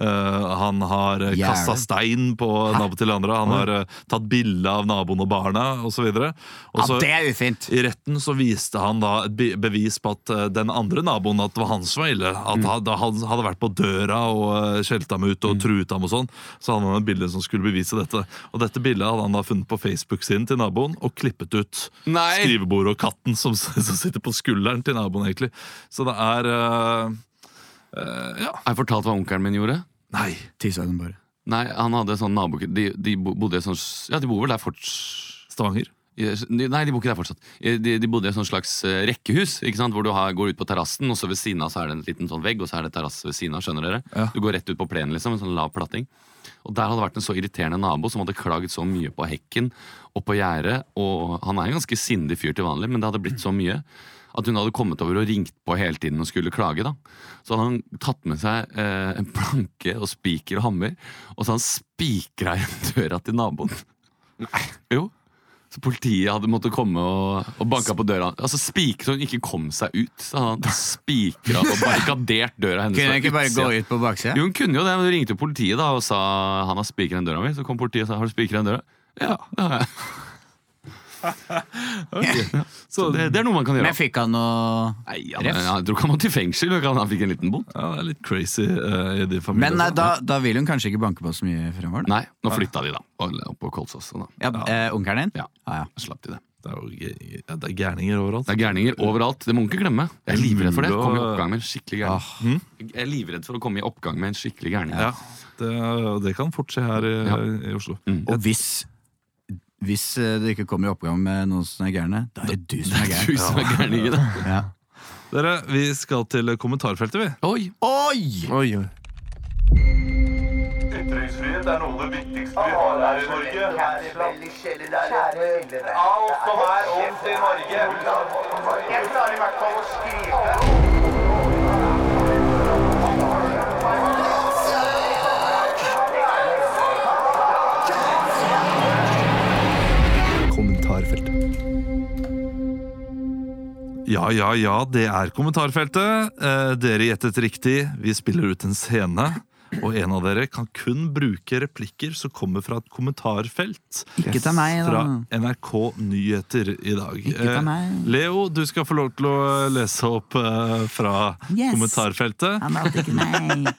eh, han har uh, Gjerde? kasta stein på naboen til andre. Han har eh, tatt bilde av naboen og barna osv. Ja, det er ufint. I retten så viste han da et be- bevis på at eh, den andre naboen at det var han som var ille. Mm. At han, da han hadde vært på døra og eh, skjelt ham ut og truet ham og sånn. Så hadde han et bilde som skulle bevise dette. Og dette bildet hadde han da funnet på Facebook-siden til naboen og klippet ut Nei. skrivebordet og katten som, som sitter på skulderen til naboen, egentlig. Så det er eh, Har jeg fortalt hva onkelen min gjorde? Nei. Tissa den bare. Nei, han hadde sånn nabo... De, de bo- bodde i sånn... s- Ja, de bor vel der fortsatt. Stavanger. Nei, de bor ikke der fortsatt. Eh, De, de bodde i et sånn slags eh, rekkehus, ikke sant? hvor du har, går ut på terrassen, og så ved siden av så er det en liten sånn vegg, og så er det terrasse ved siden av, skjønner dere? Du går rett ut på plenen, liksom, en sånn lav platting. Og der hadde det vært en så irriterende nabo som hadde klaget så mye på hekken og på gjerdet, og han er en ganske sindig fyr til vanlig, men det hadde blitt så mye at hun hadde kommet over og ringt på hele tiden og skulle klage. da. Så hadde han tatt med seg eh, en planke og [laughs] spiker og hammer, og så hadde han spikra igjen døra til naboen. Jo. Så politiet hadde måttet komme og, og banka på døra. Altså spik, Så hun ikke kom seg ut. Så han spikra og barrikadert døra hennes. Kunne fra jeg ikke bare utsida. gå ut på baksida? Jo, hun kunne jo det, men hun ringte jo politiet da og sa han har spikeren i døra mi. Så kom politiet og sa har du spikeren i døra? Ja, det har [laughs] jeg. Så det, det er noe man kan gjøre. Men fikk han noe Nei, han, jeg tror ikke han måtte i fengsel. men Han fikk en liten bot. Ja, det er litt crazy eh, i de familiene. Men eh, da, da vil hun kanskje ikke banke på så mye fremover? da? Nei, nå flytta de, da. Opp på Kolsås. så Da. Ja, eh, Onkelen din? Ja. Ah, ja. Slapp de det. Det er jo ge- ja, det er gærninger overalt. Det er gærninger overalt. Det må man ikke glemme. Jeg er livredd for det. mulig å- Komme i oppgang med en skikkelig Ah. gærning. Hmm? Jeg er livredd for å komme i oppgang med en skikkelig gærning. [laughs] Ja, det, det kan fort skje her i, i Oslo. Og hvis, hvis eh, du ikke kommer i oppgang med noen som er gærne, da er det du som er Du gæren. som er gærning i det. Ja. Dere, vi skal til kommentarfeltet, vi. Oh. Oi! Oi! Oi, oi. Ytringsfrihet er noe av det viktigste vi har her i Norge. Alt som er ondt i Norge. Jeg klarer i hvert fall å skrive. Ja, ja, ja, det er kommentarfeltet. Eh, dere gjettet riktig. Vi spiller ut en scene. Og en av dere kan kun bruke replikker som kommer fra et kommentarfelt Ikke ta meg, da. fra NRK Nyheter i dag. Ikke ta meg. Eh, Leo, du skal få lov til å lese opp eh, fra Yes. kommentarfeltet. Han valgte [laughs] ikke meg.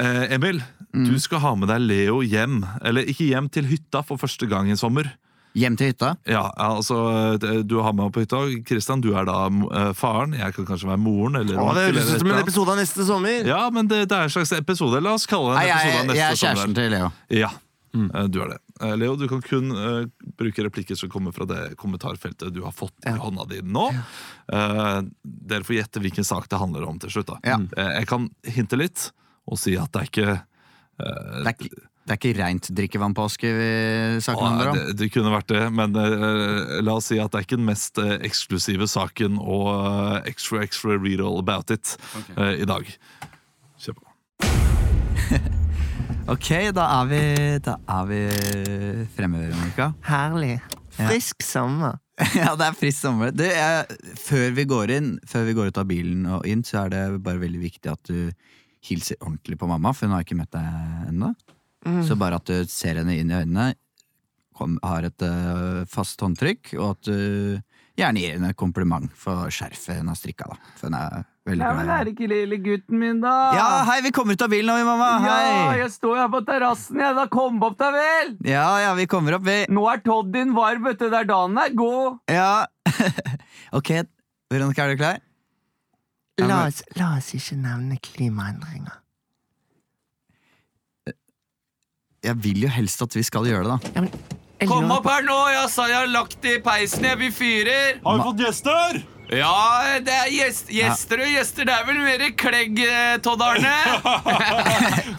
Eh, Emil, du skal ha med deg Leo hjem. Eller ikke hjem til hytta for første gang i sommer. Hjem til hytta? Ja, altså, det- Du har med meg på hytta. Christian, du er da eh, faren. Jeg kan kanskje være moren. Eller Å, det onkel, eller høres ut som en et eller annet. episode av neste sommer! Ja, men det, det er en slags episode. La oss kalle det Nei, en episode av jeg, neste jeg er kjæresten sommer. til Leo. Ja, eh, du er det. Eh, Leo, du kan kun eh, bruke replikker som kommer fra det kommentarfeltet du har fått i hånda di nå. Eh, dere får gjette hvilken sak det handler om til slutt. da. Ja. Eh, jeg kan hinte litt og si at det er ikke Det er, ikke- det er ikke reint drikkevannpåske vi- saken Nei, handler om. det, det kunne vært det, men eh, la oss si at det er ikke den mest eh, eksklusive saken og eh, extra extra read all about it eh, i dag. Kjør på. Ok, da er vi, da er vi fremme, Veronica. Herlig. Frisk sommer. [laughs] Ja, det er frisk sommer. Du, jeg, før, vi går inn, før vi går ut av bilen og inn, så er det bare veldig viktig at du hilser ordentlig på mamma, for hun har ikke møtt deg ennå. Mm. Så bare at du ser henne inn i øynene, kom, har et øh, fast håndtrykk, og at du gjerne gir henne et kompliment for skjerfet hun har strikka, da. For hun er veldig Ja, men glad i er det ikke lille gutten min, da? Ja, hei, vi kommer ut av bilen nå, vi, mamma. Ah. Ja, Hei. jeg står her på terrassen, jeg. Da kom opp deg vel! Ja, ja, vi kommer opp, vi. Nå er Toddyen varm, vet du. Det er dagen er god. Ja. [laughs] ok, Veronica, er du klar? La oss, ikke nevne klimaendringer. Jeg vil jo helst at vi skal gjøre det, da. Kom opp her nå! Jeg sa jeg har lagt i peisen, jeg. Vi fyrer. Har vi fått gjester? Ja, det er gjest, gjester og gjester. Det er vel mer klegg, eh, Todd [laughs] Arne?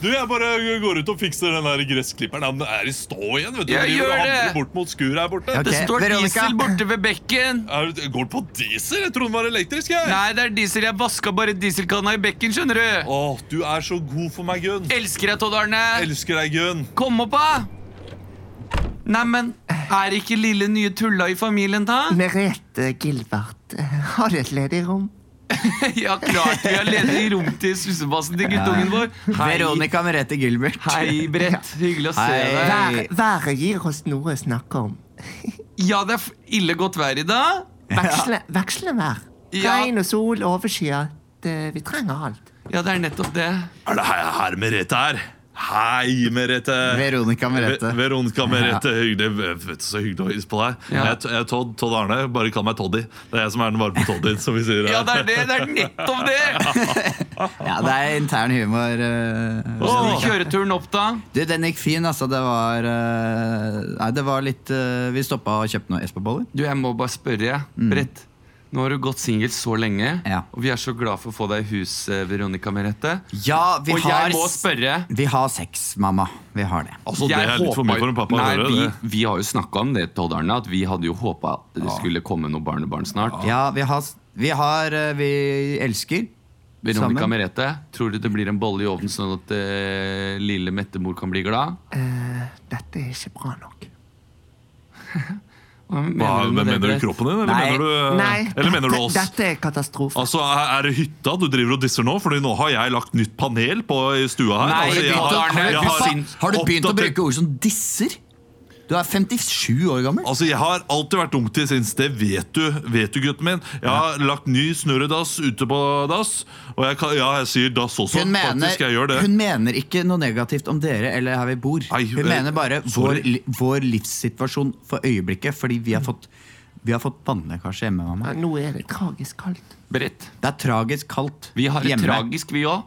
Du, jeg bare går ut og fikser den der gressklipperen. Han er i stå igjen, vet du. Ja, Han gjør driver og det. hamrer bort mot skuret her borte. Ok, Det står Veronica. diesel borte ved bekken. Er, det- går den på diesel? Jeg trodde den var elektrisk, jeg. Nei, det er diesel. Jeg vaska bare dieselkanna i bekken, skjønner du. Åh, du er så god for meg, Gunn. Elsker deg, Todd Arne. Elsker deg, Gunn. Kom opp, da! Neimen, er ikke lille nye tulla i familien, da? Merete Gilbert, har du et ledig rom? [laughs] Ja, klart vi er leder i rom til sussebassen til guttungen vår. Hei, Veronica Merete Gilbert. hei Brett. Hyggelig å se Hei. deg. Vær- været gir oss noe å snakke om. Ja, det er f- ille godt vær i dag. Veksle, veksle vær. Ja. Regn og sol, overskyet. Vi trenger alt. Ja, det er nettopp det. Er det her, her Merete er? Hei, Merete. Veronica Ve- Merete. Veronica Merete, hyggelig. Vet du, så hyggelig å hilse på deg. Ja. Jeg, jeg er Todd, Todd Arne. Bare kall meg Toddy. Det er jeg som er den varme Toddyen, som vi sier her. Ja, det er det. Det er nettopp det. Ja, det er intern humor. eh. Hvordan gikk kjøreturen opp, da? Du, den gikk fin, altså. Det var eh, Nei, det var litt eh, Vi stoppa og kjøpte noen Espa-boller. Du, jeg må bare spørre, jeg. Brett. Nå har du gått singel så lenge, Mm. Ja. og vi er så glad for å få deg i hus, eh, Veronica Merete. Ja, vi Og har jeg må spørre Vi har sex, mamma. Vi har det. Altså, det er litt for mye for en pappa å nei, høre. vi, det. vi har jo snakka om det, Todd Arne, at vi hadde jo håpa at det skulle komme noen barnebarn snart. Ja, vi har, vi, har eh, vi elsker. Veronica Sammen. Merete, tror du det blir en bolle i ovnen sånn at eh, lille Mette-mor kan bli glad? Dette er ikke bra nok. Hva, du med mener du det, Brett? kroppen din, eller mener du, Eh, eller mener du oss? Dette er katastrofe. Altså, er er det hytta du driver og disser nå? Fordi nå har jeg lagt nytt panel på i stua her. Nei, altså, jeg du har- tar ned jeg du har- sin- Har du begynt å oppdatert- bruke ord som disser? Du er 57 år gammel. Altså, Jeg har alltid vært ung til sinns, det vet du, vet du, gutten min. Jeg har lagt ny snurredass ute på dass, og jeg, kan, ja, jeg sier dass også. Hun mener, Faktisk, jeg gjør det. hun mener ikke noe negativt om dere eller her vi bor. Nei, hun eh, mener bare sorry. vår, li- vår livssituasjon for øyeblikket, fordi vi har fått vi har fått vannlekkasje hjemme. Mamma. Nå er det tragisk kaldt. Brett, Det er tragisk kaldt vi har det hjemme. tragisk, vi òg.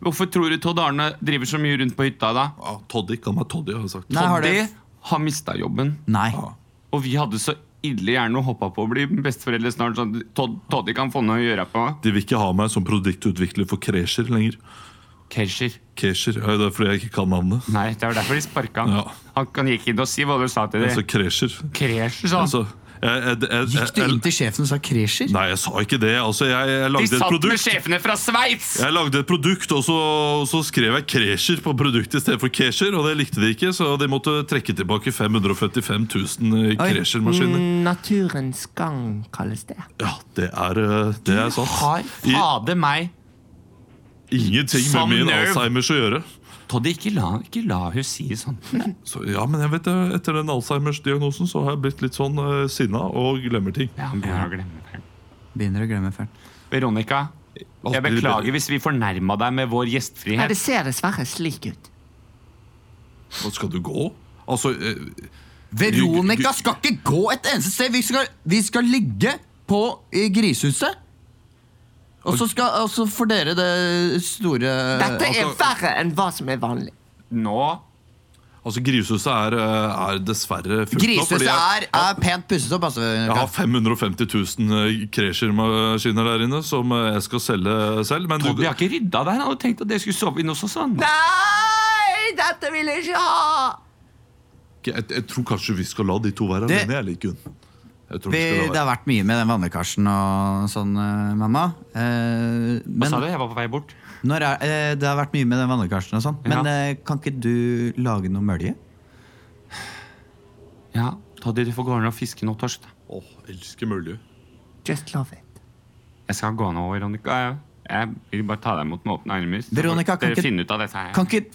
Hvorfor tror du Todd Arne driver så mye rundt på hytta da? Ja, Toddy, kall meg Toddy, har jeg sagt. Nei, har du? Det har mista jobben. Nei. Og vi hadde så ille gjerne hoppa på å bli besteforeldre snart, sånn at Todd, Toddy kan få noe å gjøre på. De vil ikke ha meg som produktutvikler for kresjer lenger. Kesher. Kesjer, ja, Det er fordi jeg ikke kan navnet. Nei, det var derfor de sparka han. Ja. Han kan gikk inn og si hva du sa til Altså dem. kresjer. Kresj, sa han. Altså, jeg, jeg, jeg, jeg, Gikk du inn til sjefen og sa kresjer? Nei, jeg sa ikke det. Altså, jeg, jeg De lagde et satt med produkt. sjefene fra Sveits! Jeg lagde et produkt, og så, og så skrev jeg kresjer på produktet i stedet for kesjer, og det likte de ikke, så de måtte trekke tilbake 555 000 Mm. kresjermaskiner. Mm, Naturens gang kalles det. Ja, det er, eh, det er sant. Har fader meg Ingenting Som med min nerv. Alzheimers å gjøre. Toddy, ikke la, ikke la hun si sånn. Så, ja, men jeg vet det, Etter den Alzheimers-diagnosen så har jeg blitt litt sånn eh, sinna og glemmer ting. Ja, han begynner å glemme det. Begynner å glemme fælt. Veronica, jeg beklager hvis vi fornærma deg med vår gjestfrihet. ser dessverre slik ut. Nå skal du gå? Altså, eh, Veronica skal ikke gå et eneste sted! Vi skal, vi skal ligge på i grisehuset. Og så skal og så får dere det store Eh, Dette er verre enn hva som er vanlig. Nå altså Grisehuset er, eh, er dessverre fullt nå. fordi Grisehuset jeg- er, er pent pusset opp. Altså. Jeg har 550 000 kresjermaskiner der inne som eh, jeg skal selge selv. Men du, Toddy har ikke rydda der. Han hadde tenkt at dere skulle sove inne hos oss. Han. Nei, dette vil jeg ikke ha! jeg, jeg tror kanskje vi skal la de to være Det- alene, jeg liker hun. Jeg tror Vi, vi skal la det være. har vært mye med den vannlekkasjen og sånn, eh, mamma. Eh, Hva men sa du? Jeg var på vei bort. når er, eh, det har vært mye med den vannlekkasjen og sånn. Men Ja. eh, kan ikke du lage noe mølje? Ja, Toddy, du får gå ned og fiske noe torsk. da. Åh, elsker mølje. Just love it. Jeg skal gå nå, Veronica. Jeg- Jeg vil bare ta deg imot med åpne armer. så Veronica, får kan dere ikke- finne ut av dette her. Kan ikke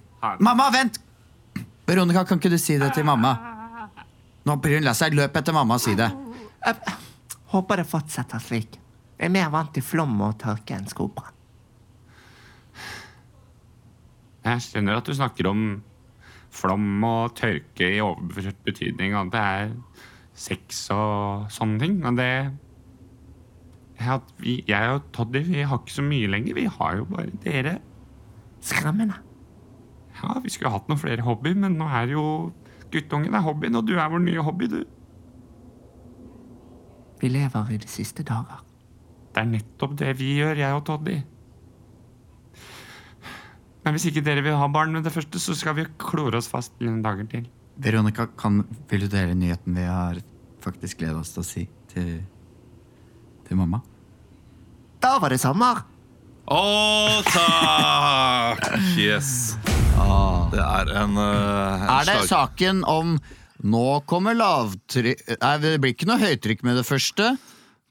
Mamma, vent! Veronica, kan ikke du si det til mamma? Nå blir hun lei seg. Løp etter mamma og si det. Håper det fortsetter slik. Jeg er mer vant til flom og tørke enn skogbrann. Jeg skjønner at du snakker om flom og tørke i overført betydning, og at det er sex og sånne ting. Men det jeg, at vi, jeg og Toddy vi har ikke så mye lenger. Vi har jo bare dere. Skremmende. Ja, Vi skulle hatt noen flere hobbyer, men nå er jo guttungen er hobbyen, og du er vår nye hobby, du. Vi lever i de siste dager. Det er nettopp det vi gjør, jeg og Toddy. Men hvis ikke dere vil ha barn med det første, så skal vi klore oss fast noen dager til. Veronica, kan, vil du dele nyheten vi har faktisk gledet oss til å si til, til mamma? Da var det sommer. Å, takk! Yes. Det er en, eh, en Ah. Er det slag- saken om nå kommer lavtrykk Nei, det blir ikke noe høytrykk med det første.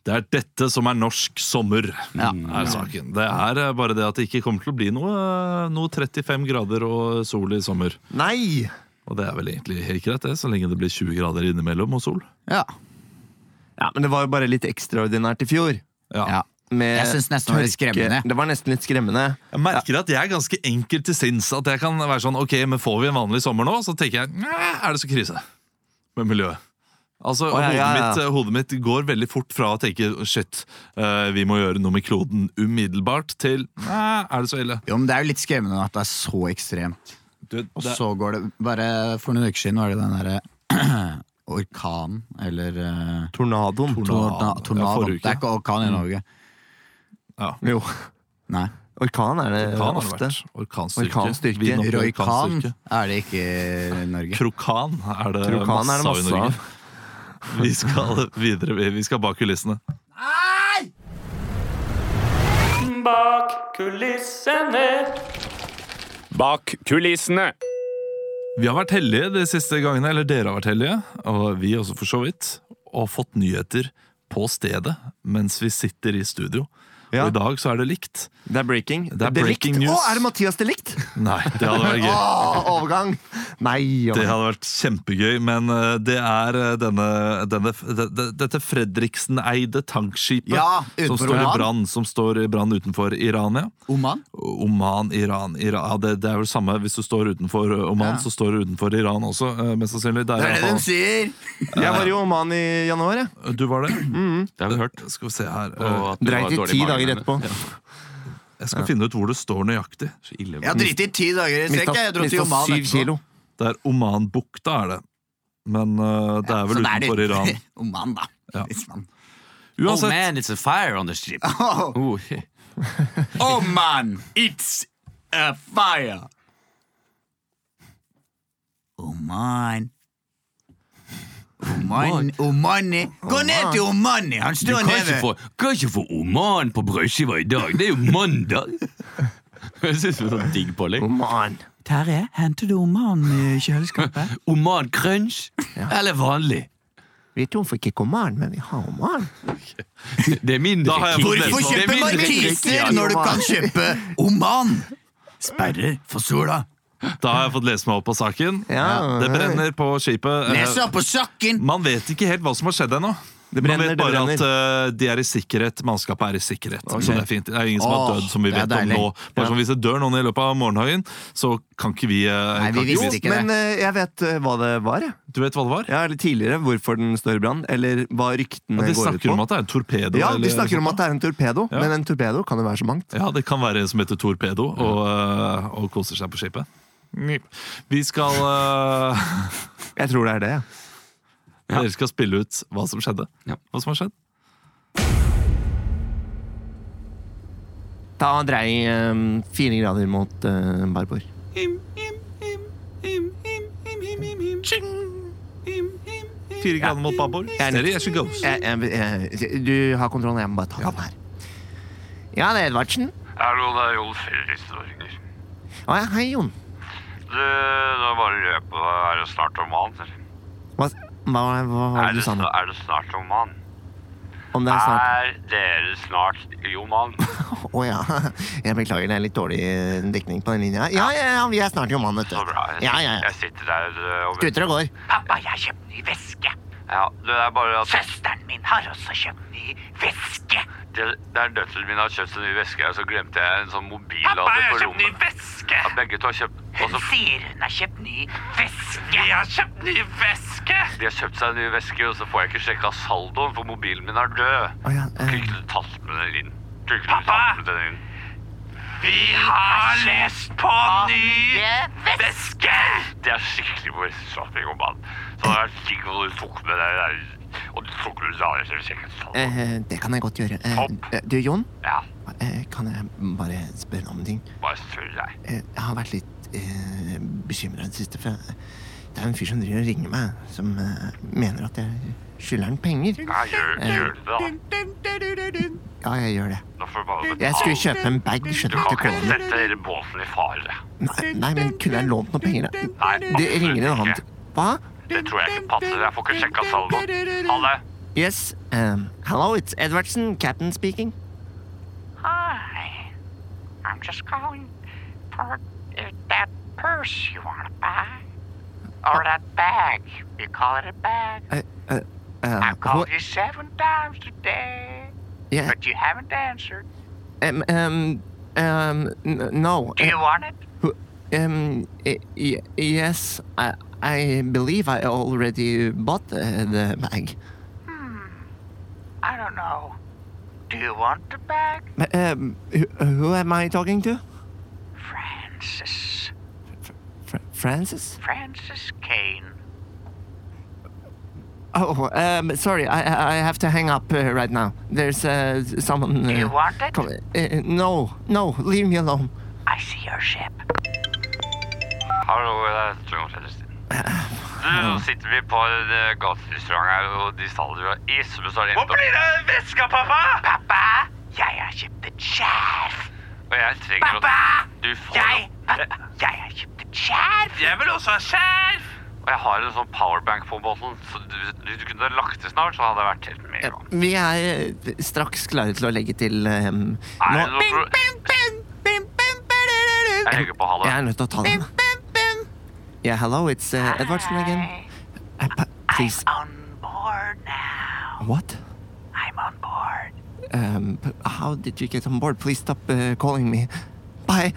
Det er dette som er norsk sommer, Ja. er saken. Det er eh, bare det at det ikke kommer til å bli noe, eh, noe 35 grader og sol i sommer. Nei! Og det er vel egentlig helt greit, det, så lenge det blir 20 grader innimellom og sol. Ja. Ja, Men det var jo bare litt ekstraordinært i fjor. ja. Med Jeg synes nesten det var litt tørke. skremmende. Det var nesten litt skremmende. Jeg merker at jeg er ganske enkel til sinns. At jeg kan være sånn, ok, men Får vi en vanlig sommer nå, så tenker jeg "Næ, er det så krise med miljøet. Altså, Å, ja, hodet, ja, ja. Mitt, hodet mitt går veldig fort fra å tenke shit, eh, vi må gjøre noe med kloden umiddelbart, til "Næ, er det så ille. Jo, men Det er jo litt skremmende at det er så ekstremt. Du, Og det, så går det bare For noen uker siden var det den derre [clears throat] orkanen, eller eh, Tornadoen. torna, Ja, tornado. forrige uke. Det er ikke orkan Mm. i Norge. Jo. Nei. Orkan er det orkan har det ofte. vært. Orkanstyrke. Orkanstyrke. Viden om Roy Khan orkanstyrke. er det ikke i Norge. Krokan er det Krokan er masse det av i masse Norge. av. [laughs] Vi skal videre. vi- Vi skal bak kulissene. Bak kulissene. Bak kulissene. Vi har vært heldige de siste gangene, eller dere har vært heldige, og vi også for så vidt. og fått nyheter på stedet mens vi sitter i studio. Ja. Og i dag så er det likt. Det er breaking. Det er breaking news. Å, er det Mathias Delikt? Nei, det hadde vært Ah! gøy. Å, overgang! Nei, Det ja. hadde vært kjempegøy, men eh, det er eh, denne, denne de- de- Dette Fredriksen-eide tankskipet Ja, som utenfor står i Oman. brann som står i brann utenfor Iran, ja. Oman? Oman, Iran, Iran ja, det, det er vel samme hvis du står utenfor eh, Oman, Ja. så står du utenfor Iran også, eh, mest sannsynlig. Det er Det er det iallfall- de sier! Jeg var i Oman i januar, jeg. Du var det? Mm. Det har vi hørt. Skal vi se her Og eh, at du har Dreit i dårlig ti mage, dager men- etterpå. Jeg skal finne ut hvor det står nøyaktig. Så ille. Jeg har driti i ti dager i strekk. Mista, jeg. Jeg dro til mista Oman syv etterpå. kilo. Det er Omanbukta, er det. Men eh, det er vel Så det utenfor litt- [laughs] [laughs] Iran. Oman, da. Ja. Hvis man- Oh Uansett, man, it's a fire on the ship. Oh, Oh, Oman, it's a fire! Oman Oman, Omani Gå ned til Omani! Han du står kan ikke, nede. få, kan ikke få Oman på brødskiva i dag. Det er jo mandag! [laughs] Jeg synes det er sånn digg pålegg. Oman. Terje, henter du Oman i kjøleskapet? Oman crunch eller vanlig? Vi er tom for ikke Oman, men vi har Oman. Det er mindre Da har jeg kick. fått Det er Det Hvorfor kjøpe mindre kick, ja. markiser når du kan kjøpe Oman? Sperrer for sola. da har jeg fått lese meg opp på saken. Ja. Det brenner på skipet. eh, Nesa på sakken! Man vet ikke helt hva som har skjedd ennå. Man brenner, vet det bare brenner. at eh, de er i sikkerhet, mannskapet er i sikkerhet. Så det er fint. Det er ingen som Åh, har dødd, som vi det er vet om deilig. nå. Bare som Hvis det dør noen i løpet av morgenhagen, så kan ikke vi, eh, Nei, kan vi ikke visste vi- ikke Men det. eh, jeg vet eh, hva det var, jeg. Du vet hva det var? Ja, eller tidligere hvorfor den står i brann, eller hva Ja, ryktene de går ut snakker på. om at det er en torpedo. ja, eller De snakker om at det er en torpedo, Ja. men en torpedo kan jo være så mangt. Ja, det kan være en som heter Torpedo og, øh, og koser seg på skipet. Vi skal øh, [laughs] Jeg tror det er det. ja. Dere skal spille ut hva som skjedde. Ja. Hva som har skjedd. Ta og drei eh, fire grader mot uh, Barborg. Fire grader mot babord. Steady as she goes. Jeg, jeg, jeg, du har kontrollen, jeg må bare ta den her. Ja, det er Edvardsen. Hallo, det er Jon Fredriksen som ringer. Å ja, hei, Jon. Du, det er bare å løpe. Er det snart Oman? eller? Hva, hva, hva var Er det det, du sa nå? sna- er det snart Oman? Om det er snart Er dere snart i Oman? Å ja. Jeg beklager, det er litt dårlig eh, dekning på den linja. Ja, ja, ja, vi er snart i Oman, vet Så du. bra. Jeg, Ja, ja, ja. jeg sitter der eh, og Tuter og går. Pappa, jeg har kjøpt ny veske. Ja, det er bare at... Søsteren min har også kjøpt ny veske. Det, det er døtteren min har kjøpt en ny veske, og så glemte jeg en sånn mobillader på rommet. Pappa, jeg har kjøpt ny veske! Ja, begge to har kjøpt... Hun sier hun har kjøpt ny veske. Jeg har kjøpt ny veske! De har kjøpt seg en ny veske, og så får jeg ikke sjekka saldoen, for mobilen min er død. Å ja, eh. Kunne ikke du tatt med den inn? Kunne ikke du tatt med den inn? Vi har lyst på nye veske! Det er skikkelig forretningsshopping, mann. Så det er digg om du tok med deg der, og du tok med deg til sjekketallet. Eh, det kan jeg godt gjøre. Eh, Topp. eh, du, Jon? Ja, Eh, Kan jeg bare spørre om en ting? bare spør deg. Eh, Jeg har vært litt eh, bekymra i det siste, for jeg- det er en fyr som driver og ringer meg, som eh, mener at jeg skylder han penger. Ja, gjør, gjør det da. Ja, jeg gjør det. Nå får du bare betale. Jeg skulle kjøpe en bag, Du skjønner kan du. til ikke kona. sette hele båten i fare. Nei, nei, men kunne jeg lånt noen penger? da? Nei, Det ringer en annen absolutt til- Hva? Det tror jeg ikke passer. Jeg får ikke sjekka saldoen. Ha det. Yes. Um, hello, it's Edvardsen, captain speaking. Hi. I'm just calling for uh, that purse you want to buy. Or that bag. You call it a bag. Uh, uh, uh, I've called you seven times today, yeah, but you haven't answered. um, um, um, n- no. Do you want it? Who- Um, y- y- yes, I, I believe I already bought uh, the bag. I don't know. Do you want the bag? But, um, who, who am I talking to? Francis. Fr- Francis? Francis Kane. Oh, um, sorry, I, I have to hang up uh, right now. There's uh, someone. Uh, Do you want it? come- uh, no, no, leave me alone. I see your ship. Hallo, det er Trond Fredriksen. Du, nå sitter vi på en eh, gaterestaurant her, og de selger jo is. Men så har de endt opp Pappa, jeg har kjøpt et skjerf. Og jeg trenger Pappa! at du [laughs] får Jeg, pappa, jeg har kjøpt et skjerf. Jeg vil også ha skjerf! Og jeg har en sånn powerbank på båten, så du- hvis du kunne lagt det snart, så hadde jeg vært helt med. Vi er eh, straks klare til å legge til eh, Er det nå. noe pro- Jeg legger på ha det. Jeg er nødt til å ta den. Yeah, hello, it's uh, Edvardsen again. Uh, pa- please. What? eh, I'm on board. Um, p- how did you get on board? Please stop uh, calling me. Bye.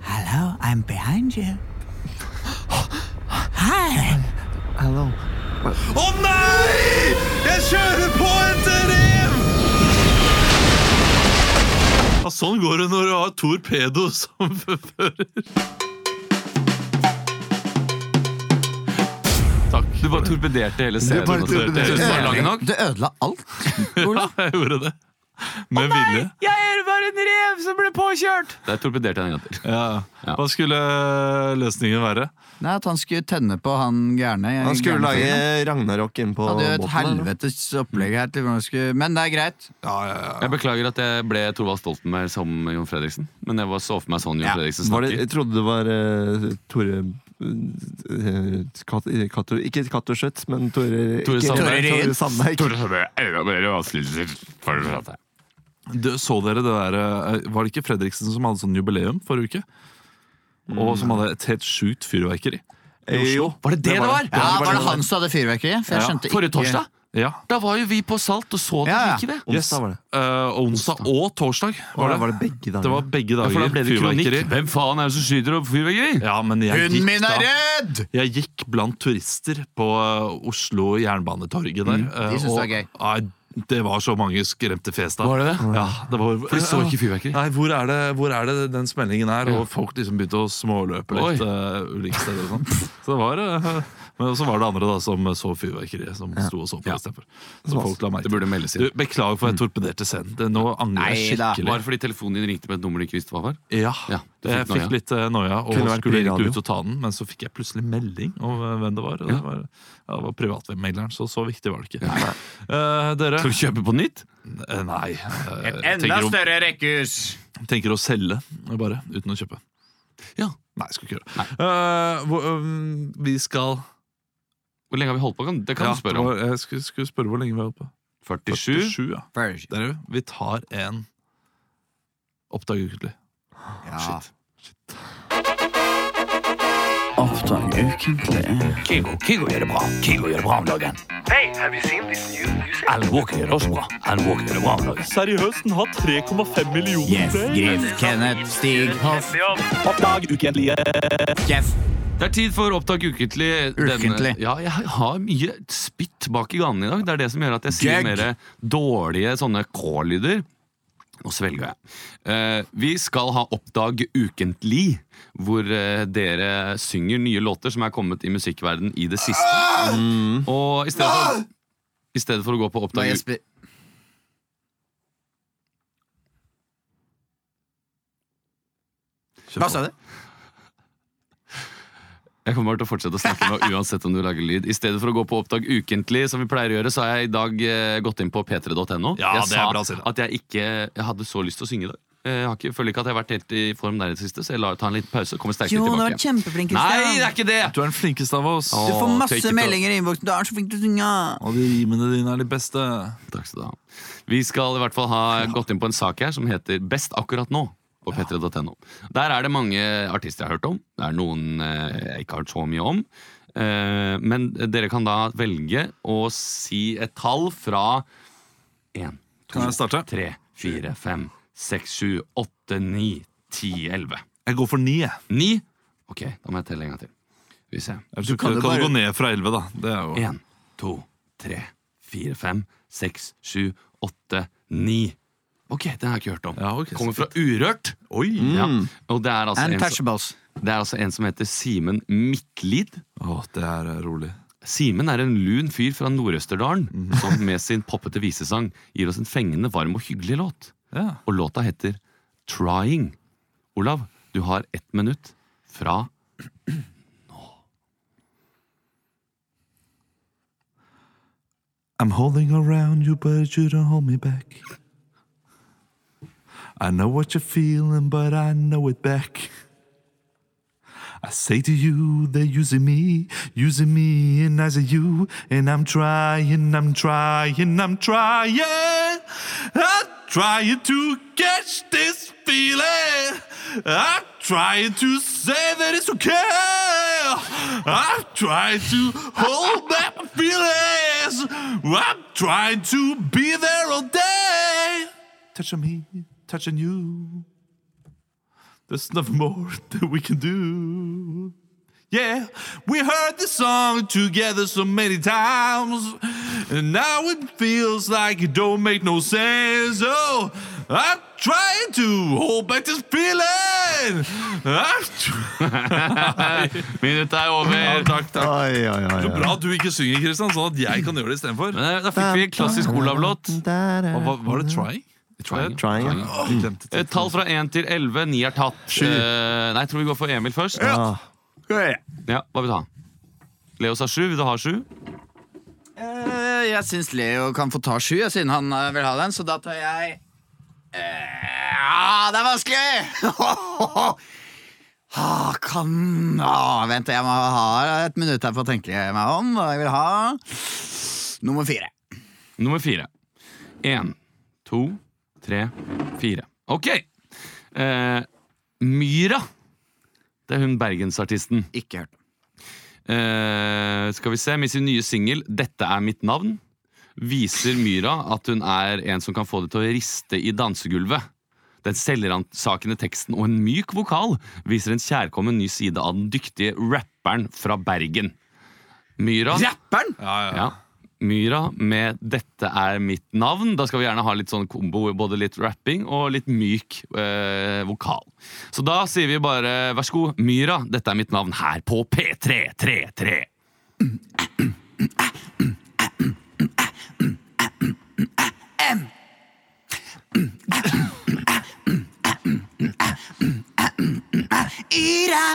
Hello, I'm behind you. Hi! Hello. Å nei! Jeg kjører på et rev! Ja, sånn går det når du har torpedo som fører. Takk. Du bare torpederte hele scenen. bare torpederte Det var lang nok. Det ødela alt. Ja, jeg gjorde det. Med vilje. Jeg er bare en rev som ble påkjørt! Der torpederte jeg den igjen. Ja. Hva skulle løsningen være? Nei, At han skulle tenne på han gærne. Han skulle gærne fyren. lage ragnarok inn på Han Hadde jo et båten. eller? helvetes opplegg her til hvordan han skulle Men det er greit. Jeg beklager at jeg ble Thorvald Stoltenberg som Jon Fredriksen. Men jeg var så for meg sånn Jon Fredriksen Var det, jeg snakker. trodde det var eh, Tore eh, Kat- eh, Kato, Ikke Cato Schjøtt, men Tore Tore ikke- Sandberg. Tore Sandberg. Du, så dere det der eh, Var det ikke Fredriksen som hadde sånn jubileum forrige uke? Og som hadde et helt sjukt fyrverkeri. Eh, Jo. Var det det det var? Ja, Var det han som hadde fyrverkeri? For jeg skjønte Forrige ikke torsdag? Ja. Da var jo vi på Salt og så det, Ja, ja. ikke det? Yes. Onsdag var det. Eh, onsdag og torsdag. Var Var det. det begge dager? det var begge Ja, dager for da ble det fyrverkeri. kronikk. Hvem faen er det som skyter opp fyrverkeri? Ja, men jeg Hunden gikk min er da redd! Jeg gikk blant turister på eh, Oslo Jernbanetorget der. eh, Mm. De syntes det var og- gøy. Nei, det var så mange skremte fjes der. Var det det? Ja, det var, For de så ikke fyrverkeri. Nei, hvor er, det, hvor er det den smellingen er? Ja. Og folk liksom begynte å småløpe litt Oi. eh, ulike steder og sånn. Så det var eh, Men så var det andre da som så fyrverkeriet, som sto og så på Ja. istedenfor. Så folk la merke Det burde meldes Du, inn. Mm. Beklager for at jeg torpederte scenen. Det, nå angrer jeg Neida. skikkelig. Var det fordi telefonen din ringte med et nummer du ikke visste hva var? Ja, Ja, du jeg fikk fikk noia. litt eh, noia og Kunne vært skulle Bryradio. egentlig ut og ta den, men så fikk jeg plutselig melding om eh, hvem det var. og Det Ja. var, ja, det var privatmaileren, så så viktig var det ikke. Eh, dere Skal du kjøpe på nytt? Eh, Nei. eh, tenker, å, større rekkehus! tenker å selge, bare, uten å kjøpe. Ja. Nei, skal ikke gjøre det. Eh, hvor, um, vi skal Hvor lenge har vi holdt på? Kan- Det kan Ja, du spørre om. det var- Jeg skulle, skulle spørre hvor lenge vi har holdt på. 47? ja. Dere, vi tar en Oppdag ukentlig. Ja. Hey, have you seen this new music? Seriøst, den har 3,5 millioner Yes, Griff, Kenneth, Stig, Hoff, eh, Jeff. Det er tid for Opptak ukentlig. Denne- Ukentlig. Ja, jeg har mye spytt bak i ganen i dag. Det er det som gjør at jeg sier Gag. mer dårlige sånne K-lyder. Nå svelga jeg. Eh, vi skal ha Oppdag ukentlig, hvor eh, dere synger nye låter som er kommet i musikkverden i det siste. Og i stedet Ah! for, i stedet for å gå på Nei, Oppdag jeg spi- Hva sa du? Jeg kommer bare til å fortsette å snakke nå [laughs] uansett om du lager lyd. I stedet for å gå på Oppdag ukentlig, som vi pleier å gjøre, så har jeg i dag eh, gått inn på p3.no. Ja, jeg det er bra, Silla. at jeg ikke jeg hadde så lyst til å synge i dag. Eh, Jeg har ikke, føler ikke at jeg har vært helt i form der i det siste, så jeg lar ta en liten pause. Kommer sterkere tilbake. igjen. kjempeflink. Nei, det er ikke det! Du er den flinkeste av oss, Åh, Du får take it masse off. meldinger i innboksen. Du er så flink til å synge. og de rimene dine er de beste. Takk skal du ha. Vi skal i hvert fall ha gått inn på en sak her som heter Best akkurat nå. På p3.no Der er det mange artister jeg har hørt om. Det er noen eh, jeg ikke har hørt så mye om. Eh, men dere kan da velge å si et tall fra én, to, Kan jeg starte? tre, fire, fem, seks, sju, åtte, ni, ti, elleve. Jeg går for ni, jeg. Ni. Ok, da må jeg telle en gang til. Skal vi se. Du kan, jo kan bare- du gå ned fra 11, da. Det er jo Én, to, tre, fire, fem, seks, sju, åtte, ni. Ok, den har jeg ikke hørt om. Ja, ok, så Mm. Kommer fra Urørt. Ja. Og det er, altså en som, Untouchables. det er altså en som heter Simen Midtlid. Åh, det er eh, rolig. Simen er en lun fyr fra Nord-Østerdalen som med sin poppete visesang gir oss en fengende, varm og hyggelig låt. Ja. Og låta heter Trying. Olav, du har ett minutt fra I'm holding around you, but you don't hold me back. I know what you're feeling, but I know it back. I Say to you, they're using me, using me, and as a you, and I'm trying, I'm trying, I'm trying, I'm trying to catch this feeling. I'm trying to say that it's okay. I'm trying to hold back my feelings. I'm trying to be there all day. Touching me, touching you. There's nothing more [laughs] that we can do. Yeah, we heard this song together so many times, and now it feels like it don't make no sense. Oh, I'm trying to hold back this feeling. I'm trying. Minuttet er over. takk, takk. Oi, oi, oi, Så oi. bra at du ikke synger, Kristian, sånn at jeg kan gjøre det istedenfor. Men Eh, Da fikk vi en klassisk Olav-låt. Hva- hva- Var det trying? Triangle. Trying, ja. Å, jeg glemte Eh, det. Tall fra 1 til 11. 9 er tatt. Eh, nei, jeg tror vi går for Emil først. Ja, Ah. Hva vil du ha? Leo sa 7. Vil du ha 7? Eh, Jeg syns Leo kan få ta sju, ja, siden han eh, vil ha den, så da tar jeg Eh, Ja, det er vanskelig! [laughs] Ah, kan ah, Vent, jeg må ha et minutt her på å tenke meg om. hva Jeg vil ha nummer fire. Nummer fire. Én, to, tre, fire. Ok. Eh, Myra. Det er hun bergensartisten. Ikke hørt. Eh, skal vi se, Med sin nye singel 'Dette er mitt navn' viser Myra at hun er en som kan få det til å riste i dansegulvet. Den selvransakende teksten og en myk vokal viser en kjærkommen ny side av den dyktige rapperen fra Bergen. Myra Rapperen! ja. Myra med 'Dette er mitt navn'. Da skal vi gjerne ha litt sånn kombo, både litt rapping og litt myk eh, vokal. Så da sier vi bare vær så god, Myra, dette er mitt navn her på P333. Yra.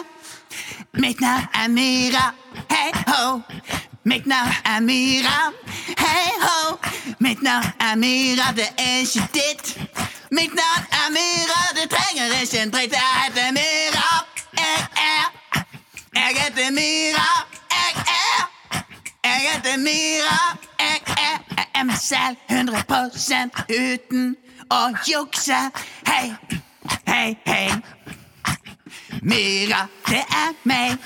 Mitt navn er Myra. Hei ho. Mitt navn er Myra. Hei ho. Mitt navn er Myra, det er ikke ditt. Mitt navn er Myra, du trenger ikke en dritt. Jeg heter Myra. Jeg er. Jeg heter Myra. Jeg er. Jeg heter Myra. Jeg er, jeg er meg selv 100 uten å jukse. Hei, hei, hei. Myra, det er meg.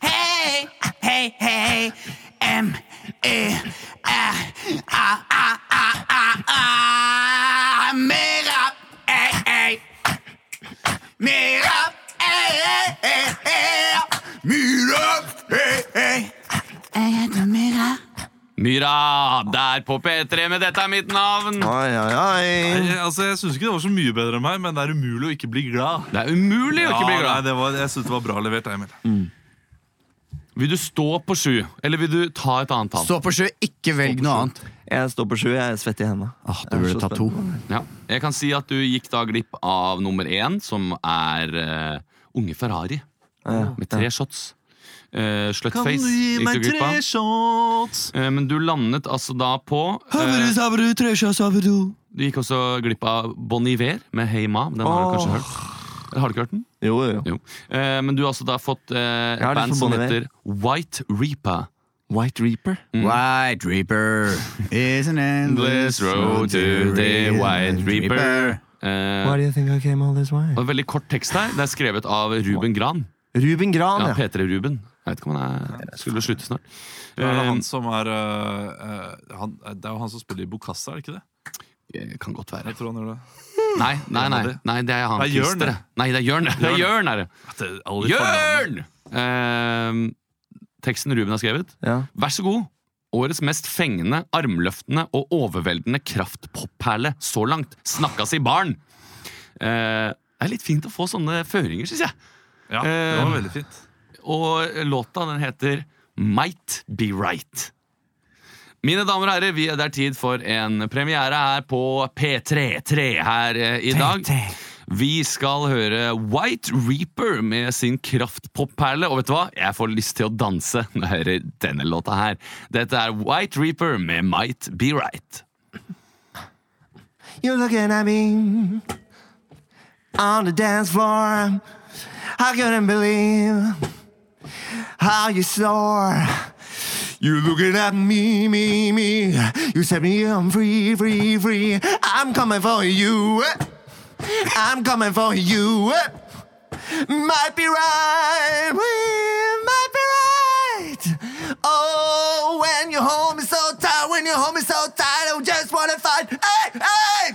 Hei, hei, hei. E, M-Y-R-A-A-A-A. Myra, ei, eh, ei. Myra, ei, ei, eh, ei, ei. Myra, ei, ei. Jeg heter Myra. Myra, der på P3 med 'Dette er mitt navn'. Oi, oi, oi. Jeg, altså, jeg syns ikke det var så mye bedre enn meg, men det er umulig å ikke bli glad. Det er umulig å ikke bli Ja, nei, glad. det var, jeg syns det var bra levert, Emil. Vil du stå på sju, eller vil du ta et annet tall? Stå på sju, ikke velg noe annet. Jeg står på sju, jeg er svett i hendene. Ah, Jeg du er burde så ta spent. to. Ja. Jeg kan si at du gikk da glipp av nummer én, som er eh, Unge Ferrari. Ja, Med ja. tre shots. Uh, Kan du Slutface gi gikk meg du glipp tre av. shots? Eh, Men du landet altså da på eh, Du gikk også glipp av Bon Iver med Hey Ma. Den har du kanskje Åh. hørt? Eller har du ikke hørt den? Jo, jo, jo. Jo. Eh, Men du har altså da fått eh, et har lyst band på som Bon Iver. heter White Reaper. Mm. White Reaper. White Reaper is an endless road to the White Reaper. Eh, Why do you think I came all this way? og en veldig kort tekst her. Det er skrevet av Ruben Gran. Ruben Gran, Ja, ja. P3-Ruben. Jeg vet ikke om han er Skulle slutte snart. Ja, det er Eh, han som er øh, øh, han, Det er jo han som spiller i Bocassa, er det ikke det? Kan godt være. Jeg tror han gjør det. Nei, nei, nei, nei det er han Det er Jørn, Christer, det. det. Nei, det er Jørn. Det er Jørn, er det. At det alle de fornavnene- Jørn! Ehm, teksten Ruben har skrevet. ja. Vær så god. Årets mest fengende, armløftende og overveldende kraftpopperle så langt. Snakkas i baren. Eh, det er litt fint å få sånne føringer, syns jeg. Ja, det var veldig fint. Og låta den heter Might Be Right. Mine damer og herrer, vi det er tid for en premiere her på P33 her eh, i dag. Vi skal høre White Reaper med sin kraftpopperle. Og vet du hva? Jeg får lyst til å danse når jeg hører denne låta her. Dette er White Reaper med Might Be Right. You're looking at me on the dance floor. I couldn't believe how you soar. You looking at me, me, me. You set me on free, free, free. I'm coming for you. I'm coming for you. Might be right, we might be right. Oh, when your home is so tight, when your home is so tight, I just wanna fight. Hey, hey,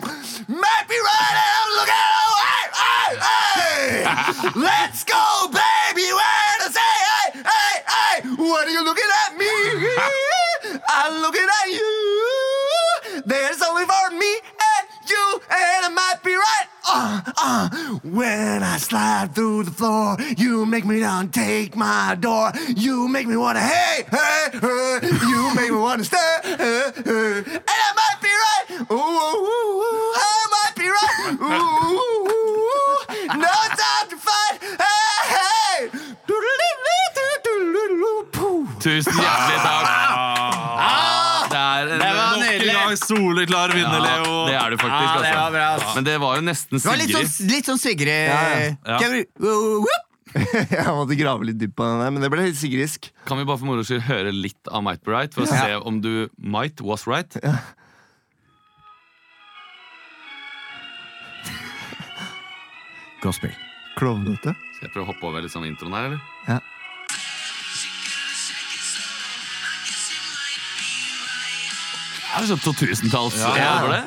might be right, and I'm looking away. Hey, hey, let's go, baby. Where to say, hey, hey, hey, what are you looking at me? I'm looking at you. There's only for me and you, and I might be right. Uh, uh, when I slide through the floor, you make me down, take my door. You make me wanna, hey, hey, hey. You make me wanna stay, hey, hey. and I might be right. Ooh, ooh, ooh, I might be right. Ooh, ooh, ooh, ooh. no time to fight. Hey, hey. Doodle-doo-doo-doo-doo-doo-doo-poo. Tusen hjertelig takk. Det er en, var Nok en nydelig. gang soleklar vinner, ja, Leo. det er du faktisk. Ja, det var Altså. bra. Men det var jo nesten Det var litt sånn, Sigrid. litt sånn Sigrid ja. Kan vi- Woo, woo. [laughs] Jeg måtte grave litt dypt på den der, men det ble litt sigrisk. Kan vi bare for moro skyld høre litt av Might Be Right for å se om du might was right? Gospel. Klovnete. Skal jeg prøve å hoppe over litt sånn introen her, eller? Er det sånn 2000-talls ja, over det?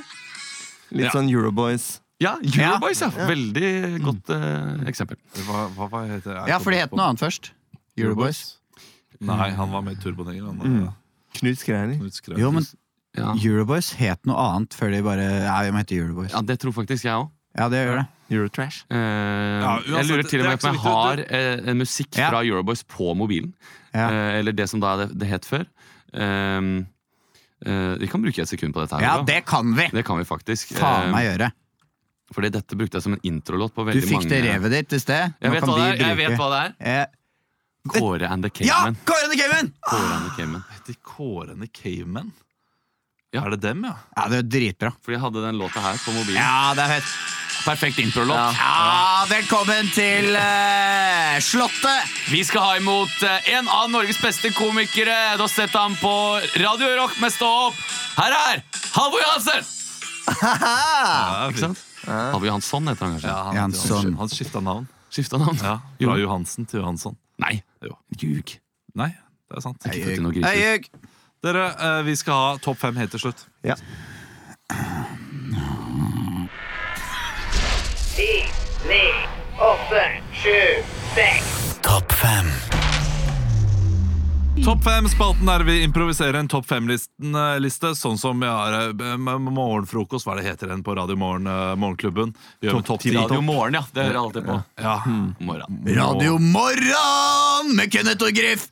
Litt Ja. sånn Euroboys. Ja, Euroboys, ja. Veldig godt eh, eksempel. Hva, hva, hva heter det? Ja, for det het noe annet først. Euroboys. Nei, han var med i Turboneger. Han, mm. Knut Skreiner. Jo, men Ja. Euroboys het noe annet før de bare Ja, vi må hete Euroboys. ja, det tror faktisk jeg òg. Ja, det gjør det. Eurotrash. uansett, jeg lurer til det er og med ikke på om jeg så har viktig, eh, en musikk Ja. fra Euroboys på mobilen. Ja. Eh, eller det som da det, det het før. Ehm, eh, vi kan bruke et sekund på dette. her Ja, da. det kan vi! det kan vi faktisk. Faen Ehm, meg gjøre. Fordi dette brukte jeg som en introlåt på Du veldig fikk mange det revet ditt i sted. Jeg Nå vet, kan hva det vi er, jeg vet bruke- hva det er. Eh, Kåre and the Ja! Caveman. Kåre the Caveman! Kåre and the Caveman. Heter Kårene Cavemen? Ja. Er det dem, ja? Ja, det er jo dritbra. Fordi jeg hadde den låta her på mobilen. Ja, det er fett. Perfekt introlåt. Ja, velkommen til eh, Slottet! Vi skal ha imot eh, en av Norges beste komikere. Du har sett ham på Radio Rock med Stå opp. Her er Halvor Johansen! ja Ikke sant? Halvor Johansson heter han kanskje. Ja, han, Jansson. han, han skifta navn. Skifta navn. Ja, Fra Johansen til Johansson. Nei, Jo. ljug. Nei, det er sant. Ikke til noe griseri. Hei, Jørg. Dere, eh, vi skal ha topp fem helt til slutt. Ja. Topp fem-spalten der vi improviserer en topp fem-liste, sånn som vi har eh, med- med morgenfrokost. Hva er det heter den på Radio Morgen, eh, Morgenklubben? Vi gjør med topp ti. Radio Morgen, ja. Det hører jeg alltid på. Ja. Morgen. Hmm. Radio Morgen med Kenneth og Griff.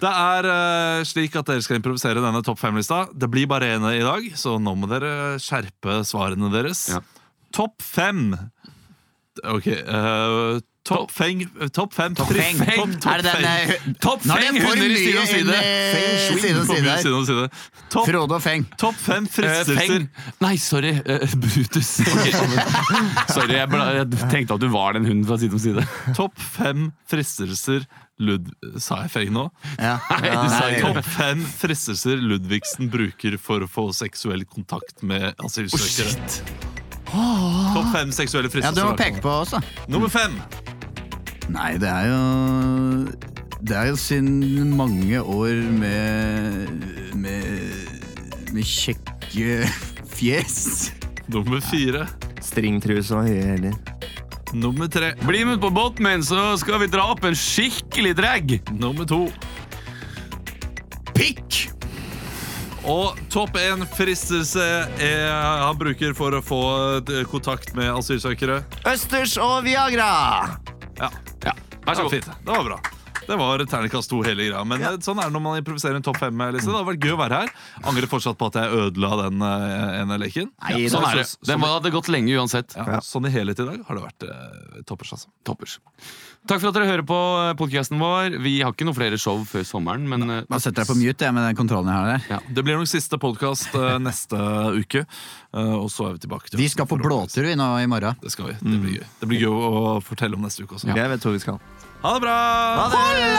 Det er eh, slik at dere skal improvisere denne topp fem-lista. Det blir bare én i dag, så nå må dere skjerpe svarene deres. Ja. Topp fem Ok. eh, Topp feng Topp fem Topp Feng. Er det den eh, hu- Topp Nå er det feng for hunder i side mye om side. inn i Eh, side om For side mye her. side om side. Topp Frode og Feng. topp fem Eh, fristelser. Feng. Nei, sorry. eh, [laughs] Brutus. sorry, jeg, bla, jeg tenkte at du var den hunden fra side om side. Topp fem fristelser Lud... Sa jeg feng nå? Ja. Topp fem fristelser Ludvigsen bruker for å få seksuell kontakt med asylsøkere. Topp fem seksuelle ja, du fristelser. må i hvert peke på oss, da. fall. Nummer fem! Nei, det er jo Det er jo siden mange år med Med, med kjekke fjes. Nummer fire. Stringtruse og høye hæler. Nummer tre. Bli med på båten min, så skal vi dra opp en skikkelig drag. Nummer to. Pikk! Og topp én fristelse er, han bruker for å få eh, kontakt med asylsøkere. Østers og Viagra! Ja, Ja, Vær det så var god. fint. Det var bra. Det var terningkast to hele greia. Men eh, sånn er det når man improviserer en topp fem-liste. Det hadde vært gøy å være her. Angrer fortsatt på at jeg ødela den eh, ene leken. Nei, Ja, Sånn så- er det. Den var- hadde gått lenge uansett. Ja, sånn i helhet i dag har det vært eh, toppers, altså. Toppers. Takk for at dere hører på podkasten vår. Vi har ikke noen flere show før sommeren, men eh, Bare setter deg på mute jeg, med den kontrollen jeg har der. Det blir nok siste podkast eh, neste uke, eh, og så er vi tilbake til Vi skal på høsten for å- blåtur vi nå i morgen. Mm. Det skal vi. Det blir gøy. Det blir gøy å fortelle om neste uke også. Jeg vet hvor vi skal. Ha det bra!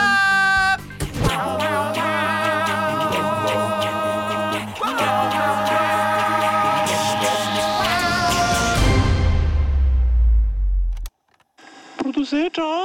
Produsert av